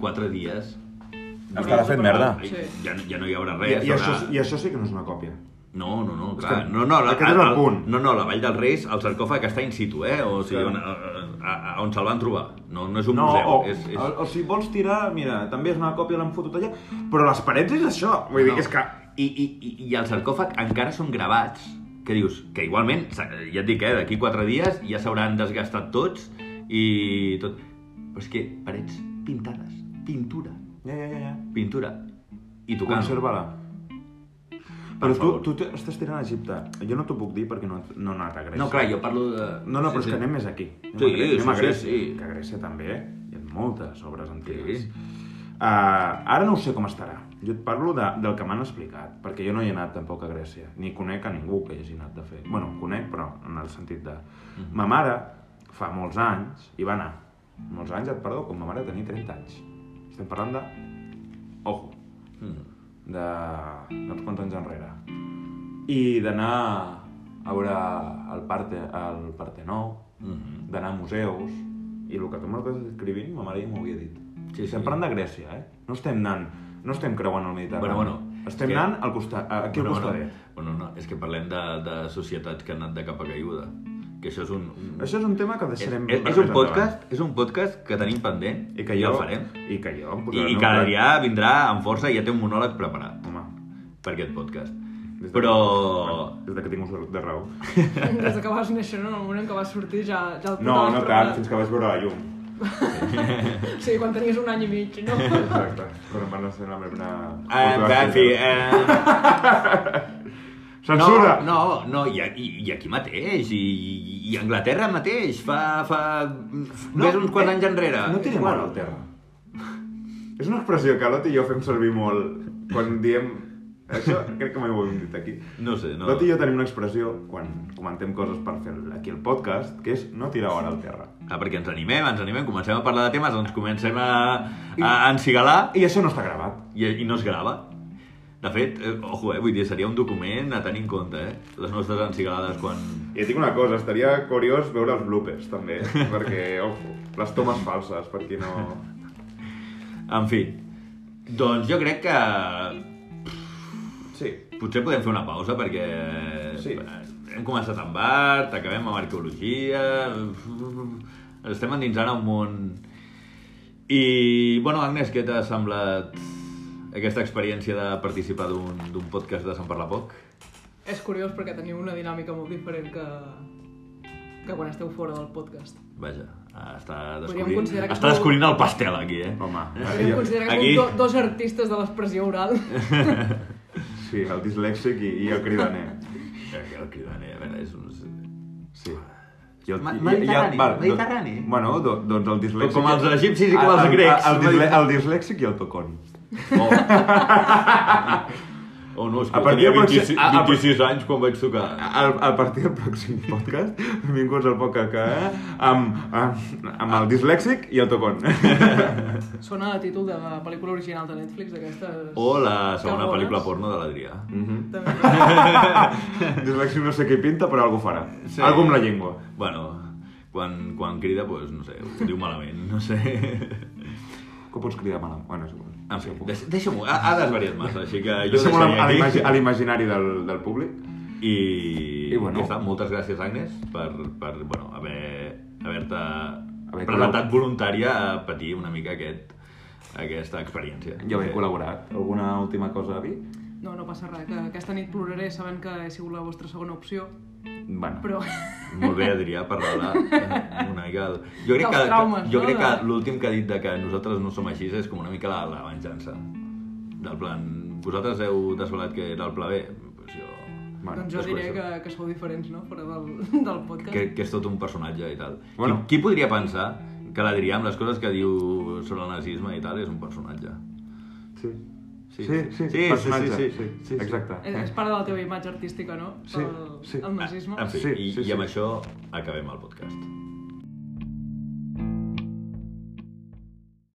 Speaker 1: quatre dies...
Speaker 6: Estarà fet merda.
Speaker 3: Sí.
Speaker 1: Ja, no- ja no hi haurà
Speaker 2: I,
Speaker 1: res.
Speaker 2: i, això,
Speaker 1: haurà-
Speaker 2: I això sí que no és una còpia.
Speaker 1: no, no, no,
Speaker 2: És
Speaker 1: clar.
Speaker 2: que
Speaker 1: No, no, la,
Speaker 2: aquest és el
Speaker 1: al-
Speaker 2: punt.
Speaker 1: No, no, la Vall dels Reis, el sarcòfag està in situ, eh? O sigui,
Speaker 2: Clar.
Speaker 1: on, a, a, on se'l van trobar. No, no és un
Speaker 2: No,
Speaker 1: museu.
Speaker 2: o,
Speaker 1: és, és...
Speaker 2: O, o si vols tirar, mira, també és una còpia, l'han fotut allà, però les parets és això. Vull dir,
Speaker 1: No.
Speaker 2: és que...
Speaker 1: I, i, i- i el sarcòfag encara són gravats, que dius, que igualment, sa- ja et dic, eh, d'aquí quatre dies ja s'hauran desgastat tots i tot. Però és que parets pintades, pintura,
Speaker 2: Ja, ja, ja, ja.
Speaker 1: pintura. I tocant.
Speaker 2: Conserva-la. Però tu,
Speaker 1: favor.
Speaker 2: tu te- estàs tirant a Egipte. Jo no t'ho puc dir perquè no, no he anat a Grècia.
Speaker 1: No, clar, jo parlo de...
Speaker 2: No, no, però és
Speaker 1: sí,
Speaker 2: que
Speaker 1: sí.
Speaker 2: anem més aquí. Anem
Speaker 1: Sí,
Speaker 2: a Grècia, anem
Speaker 1: sí,
Speaker 2: a
Speaker 1: sí,
Speaker 2: Grècia,
Speaker 1: sí.
Speaker 2: que a Grècia també hi ha moltes obres antigues.
Speaker 1: Sí.
Speaker 2: Sí. ara no ho sé com estarà. Jo et parlo de, del que m'han explicat, perquè jo no hi he anat tampoc a Grècia, ni conec a ningú que hi hagi anat de fer. bueno, conec, però en el sentit de...
Speaker 1: Mhm.
Speaker 2: Ma mare, fa molts anys, hi va anar. Molts anys, et perdó, com ma mare tenia 30 anys. Estem parlant de... Ojo,
Speaker 1: Mm.
Speaker 2: de... no uns quants anys enrere. I d'anar a veure el, parte, el Partenou,
Speaker 1: Mhm.
Speaker 2: d'anar a museus, i el que tu m'estàs escrivint, ma mare ja m'ho havia dit.
Speaker 1: Sí,
Speaker 2: Sí,
Speaker 1: sí.
Speaker 2: estem parlant de Grècia, eh? No estem anant, no estem creuant el
Speaker 1: Bueno,
Speaker 2: Mediterrani.
Speaker 1: bueno,
Speaker 2: Estem
Speaker 1: és que-
Speaker 2: anant al costat, aquí al
Speaker 1: bueno,
Speaker 2: costadet.
Speaker 1: bueno, no, és que parlem de, de societats que han anat de cap a caiguda. Que això és un... un...
Speaker 2: Això és un tema que
Speaker 1: és,
Speaker 2: deixarem...
Speaker 1: és,
Speaker 2: per
Speaker 1: és un
Speaker 2: més endavant.
Speaker 1: podcast, és un podcast que tenim pendent
Speaker 2: I que jo...
Speaker 1: el farem.
Speaker 2: I que jo... em
Speaker 1: I,
Speaker 2: posaré
Speaker 1: i
Speaker 2: en un
Speaker 1: que
Speaker 2: pla-
Speaker 1: l'Adrià vindrà amb força i ja té un monòleg preparat
Speaker 2: Home,
Speaker 1: per
Speaker 2: Mm.
Speaker 1: aquest podcast.
Speaker 2: des de
Speaker 1: Però...
Speaker 2: Que, des de que tinc ús de- de raó.
Speaker 3: Des de que vas néixer, no? En el moment en què vas sortir ja, ja el
Speaker 2: No, no
Speaker 3: portaves
Speaker 2: tant,
Speaker 3: preparat.
Speaker 2: fins que vaig veure la llum.
Speaker 3: Sí, quan tenies un any i mig, no?
Speaker 2: Exacte. Però em van ser la meva...
Speaker 1: Eh,
Speaker 2: foto de
Speaker 1: va, en fi,
Speaker 2: Censura.
Speaker 1: eh,
Speaker 2: Censura!
Speaker 1: No, no, no i, i, i aquí mateix, i, i- i a Anglaterra mateix, fa... fa no, ves uns quants anys enrere.
Speaker 2: eh, No tirem bueno. al terra. És una expressió que l'Oti i jo fem servir molt quan diem... Això crec que mai ho hem dit aquí.
Speaker 1: No sé, no.
Speaker 2: L'Oti i jo tenim una expressió quan comentem coses per fer aquí el podcast, que és no tirar hora al terra.
Speaker 1: Ah, perquè ens animem, ens animem, comencem a parlar de temes, ens comencem a, a encigalar
Speaker 2: I això no està gravat.
Speaker 1: i, i no es grava. De fet, eh, ojo, eh, vull dir, seria un document a tenir en compte, eh? Les nostres encigades quan...
Speaker 2: I et dic una cosa, estaria curiós veure els bloopers, també, perquè, ojo, les tomes falses, per qui no...
Speaker 1: En fi, doncs jo crec que
Speaker 2: Sí,
Speaker 1: potser podem fer una pausa perquè eh,
Speaker 2: Sí.
Speaker 1: hem començat amb art, acabem amb arqueologia, ens estem endinsant en un món... I, bueno, Agnès, què t'ha semblat aquesta experiència de participar d'un d'un podcast de Sant Parla Poc?
Speaker 3: És curiós perquè teniu una dinàmica molt diferent que, que quan esteu fora del podcast.
Speaker 1: Vaja, està
Speaker 3: Podríem
Speaker 1: descobrint,
Speaker 3: considerar que
Speaker 1: està
Speaker 3: és molt-
Speaker 1: descobrint el pastel aquí, eh?
Speaker 2: home,
Speaker 3: Podríem considerar que
Speaker 1: aquí-
Speaker 3: som do, dos artistes de l'expressió oral.
Speaker 2: sí, el dislèxic i, i el cridaner.
Speaker 1: El cridaner, a veure, és un...
Speaker 2: Sí. I el,
Speaker 1: Ma-
Speaker 2: i- i-
Speaker 1: mediterrani,
Speaker 2: i- val, do-
Speaker 1: mediterrani.
Speaker 2: doncs, bueno, do, doncs el dislèxic...
Speaker 1: Com els egipcis i com els
Speaker 2: El- el-
Speaker 1: grecs.
Speaker 2: El, disle, el dislèxic i el tocón.
Speaker 1: Oh. oh, no, és que
Speaker 2: A partir
Speaker 1: tenia
Speaker 2: del pròxim-
Speaker 1: 26,
Speaker 2: a- a-
Speaker 1: 26 anys quan vaig tocar.
Speaker 2: A, a partir del pròxim podcast, benvinguts al poc que... Eh? Amb, amb, amb el dislèxic i el tocón.
Speaker 3: Sona a títol de pel·lícula original de Netflix, d'aquestes...
Speaker 1: O la segona
Speaker 3: Cabrones.
Speaker 1: pel·lícula porno de l'Adrià.
Speaker 3: També.
Speaker 2: dislèxic no sé què pinta, però algú farà.
Speaker 1: Sí.
Speaker 2: Sí. Algú amb la llengua.
Speaker 1: Bueno, quan, quan crida, doncs, no sé, ho diu malament, no sé.
Speaker 2: Que pots cridar malament? Bueno, és igual.
Speaker 1: En fi,
Speaker 2: Sí, ho puc.
Speaker 1: deix- deixa-m'ho, ha, ha desvariat massa, així que Ah, jo
Speaker 2: Deixem-ho a
Speaker 1: deixaria
Speaker 2: l'imagi- a
Speaker 1: aquí.
Speaker 2: l'imaginari del, del públic.
Speaker 1: I,
Speaker 2: I bueno.
Speaker 1: ja està, moltes gràcies, Agnes, per, per bueno, haver-te haver haver
Speaker 2: Haver
Speaker 1: presentat voluntària a patir una mica aquest, aquesta experiència.
Speaker 2: Jo he col·laborat. Alguna última cosa a dir?
Speaker 3: No, no passa res, que aquesta nit ploraré sabent que he sigut la vostra segona opció,
Speaker 2: Bueno.
Speaker 3: però...
Speaker 1: Molt bé, Adrià, per revelar eh, una mica... El... Jo crec
Speaker 3: Dels
Speaker 1: que,
Speaker 3: traumes,
Speaker 1: jo
Speaker 3: no?
Speaker 1: crec que
Speaker 3: De-
Speaker 1: l'últim que ha dit de que nosaltres no som així és com una mica la, la venjança. Del plan, vosaltres heu desvelat que era el pla B, doncs jo...
Speaker 2: Bueno,
Speaker 3: doncs jo
Speaker 2: és
Speaker 3: diré
Speaker 2: curiosa.
Speaker 3: que, que sou diferents, no?, fora del, del podcast.
Speaker 1: Que, eh. que és tot un personatge i tal. Bueno.
Speaker 2: Bueno.
Speaker 1: Qui, qui podria pensar que l'Adrià, amb les coses que diu sobre el nazisme i tal, és un personatge?
Speaker 2: Sí.
Speaker 1: Sí,
Speaker 2: Sí, sí,
Speaker 1: sí,
Speaker 2: sí,
Speaker 1: sí,
Speaker 2: personatge.
Speaker 1: sí, sí, sí, sí.
Speaker 2: Exacte.
Speaker 3: És, és part de la teva imatge artística, no?,
Speaker 2: Sí,
Speaker 3: el,
Speaker 2: sí.
Speaker 3: el nazisme.
Speaker 1: En fi,
Speaker 2: Sí,
Speaker 1: i,
Speaker 2: sí,
Speaker 1: i amb
Speaker 2: sí.
Speaker 1: això acabem el podcast.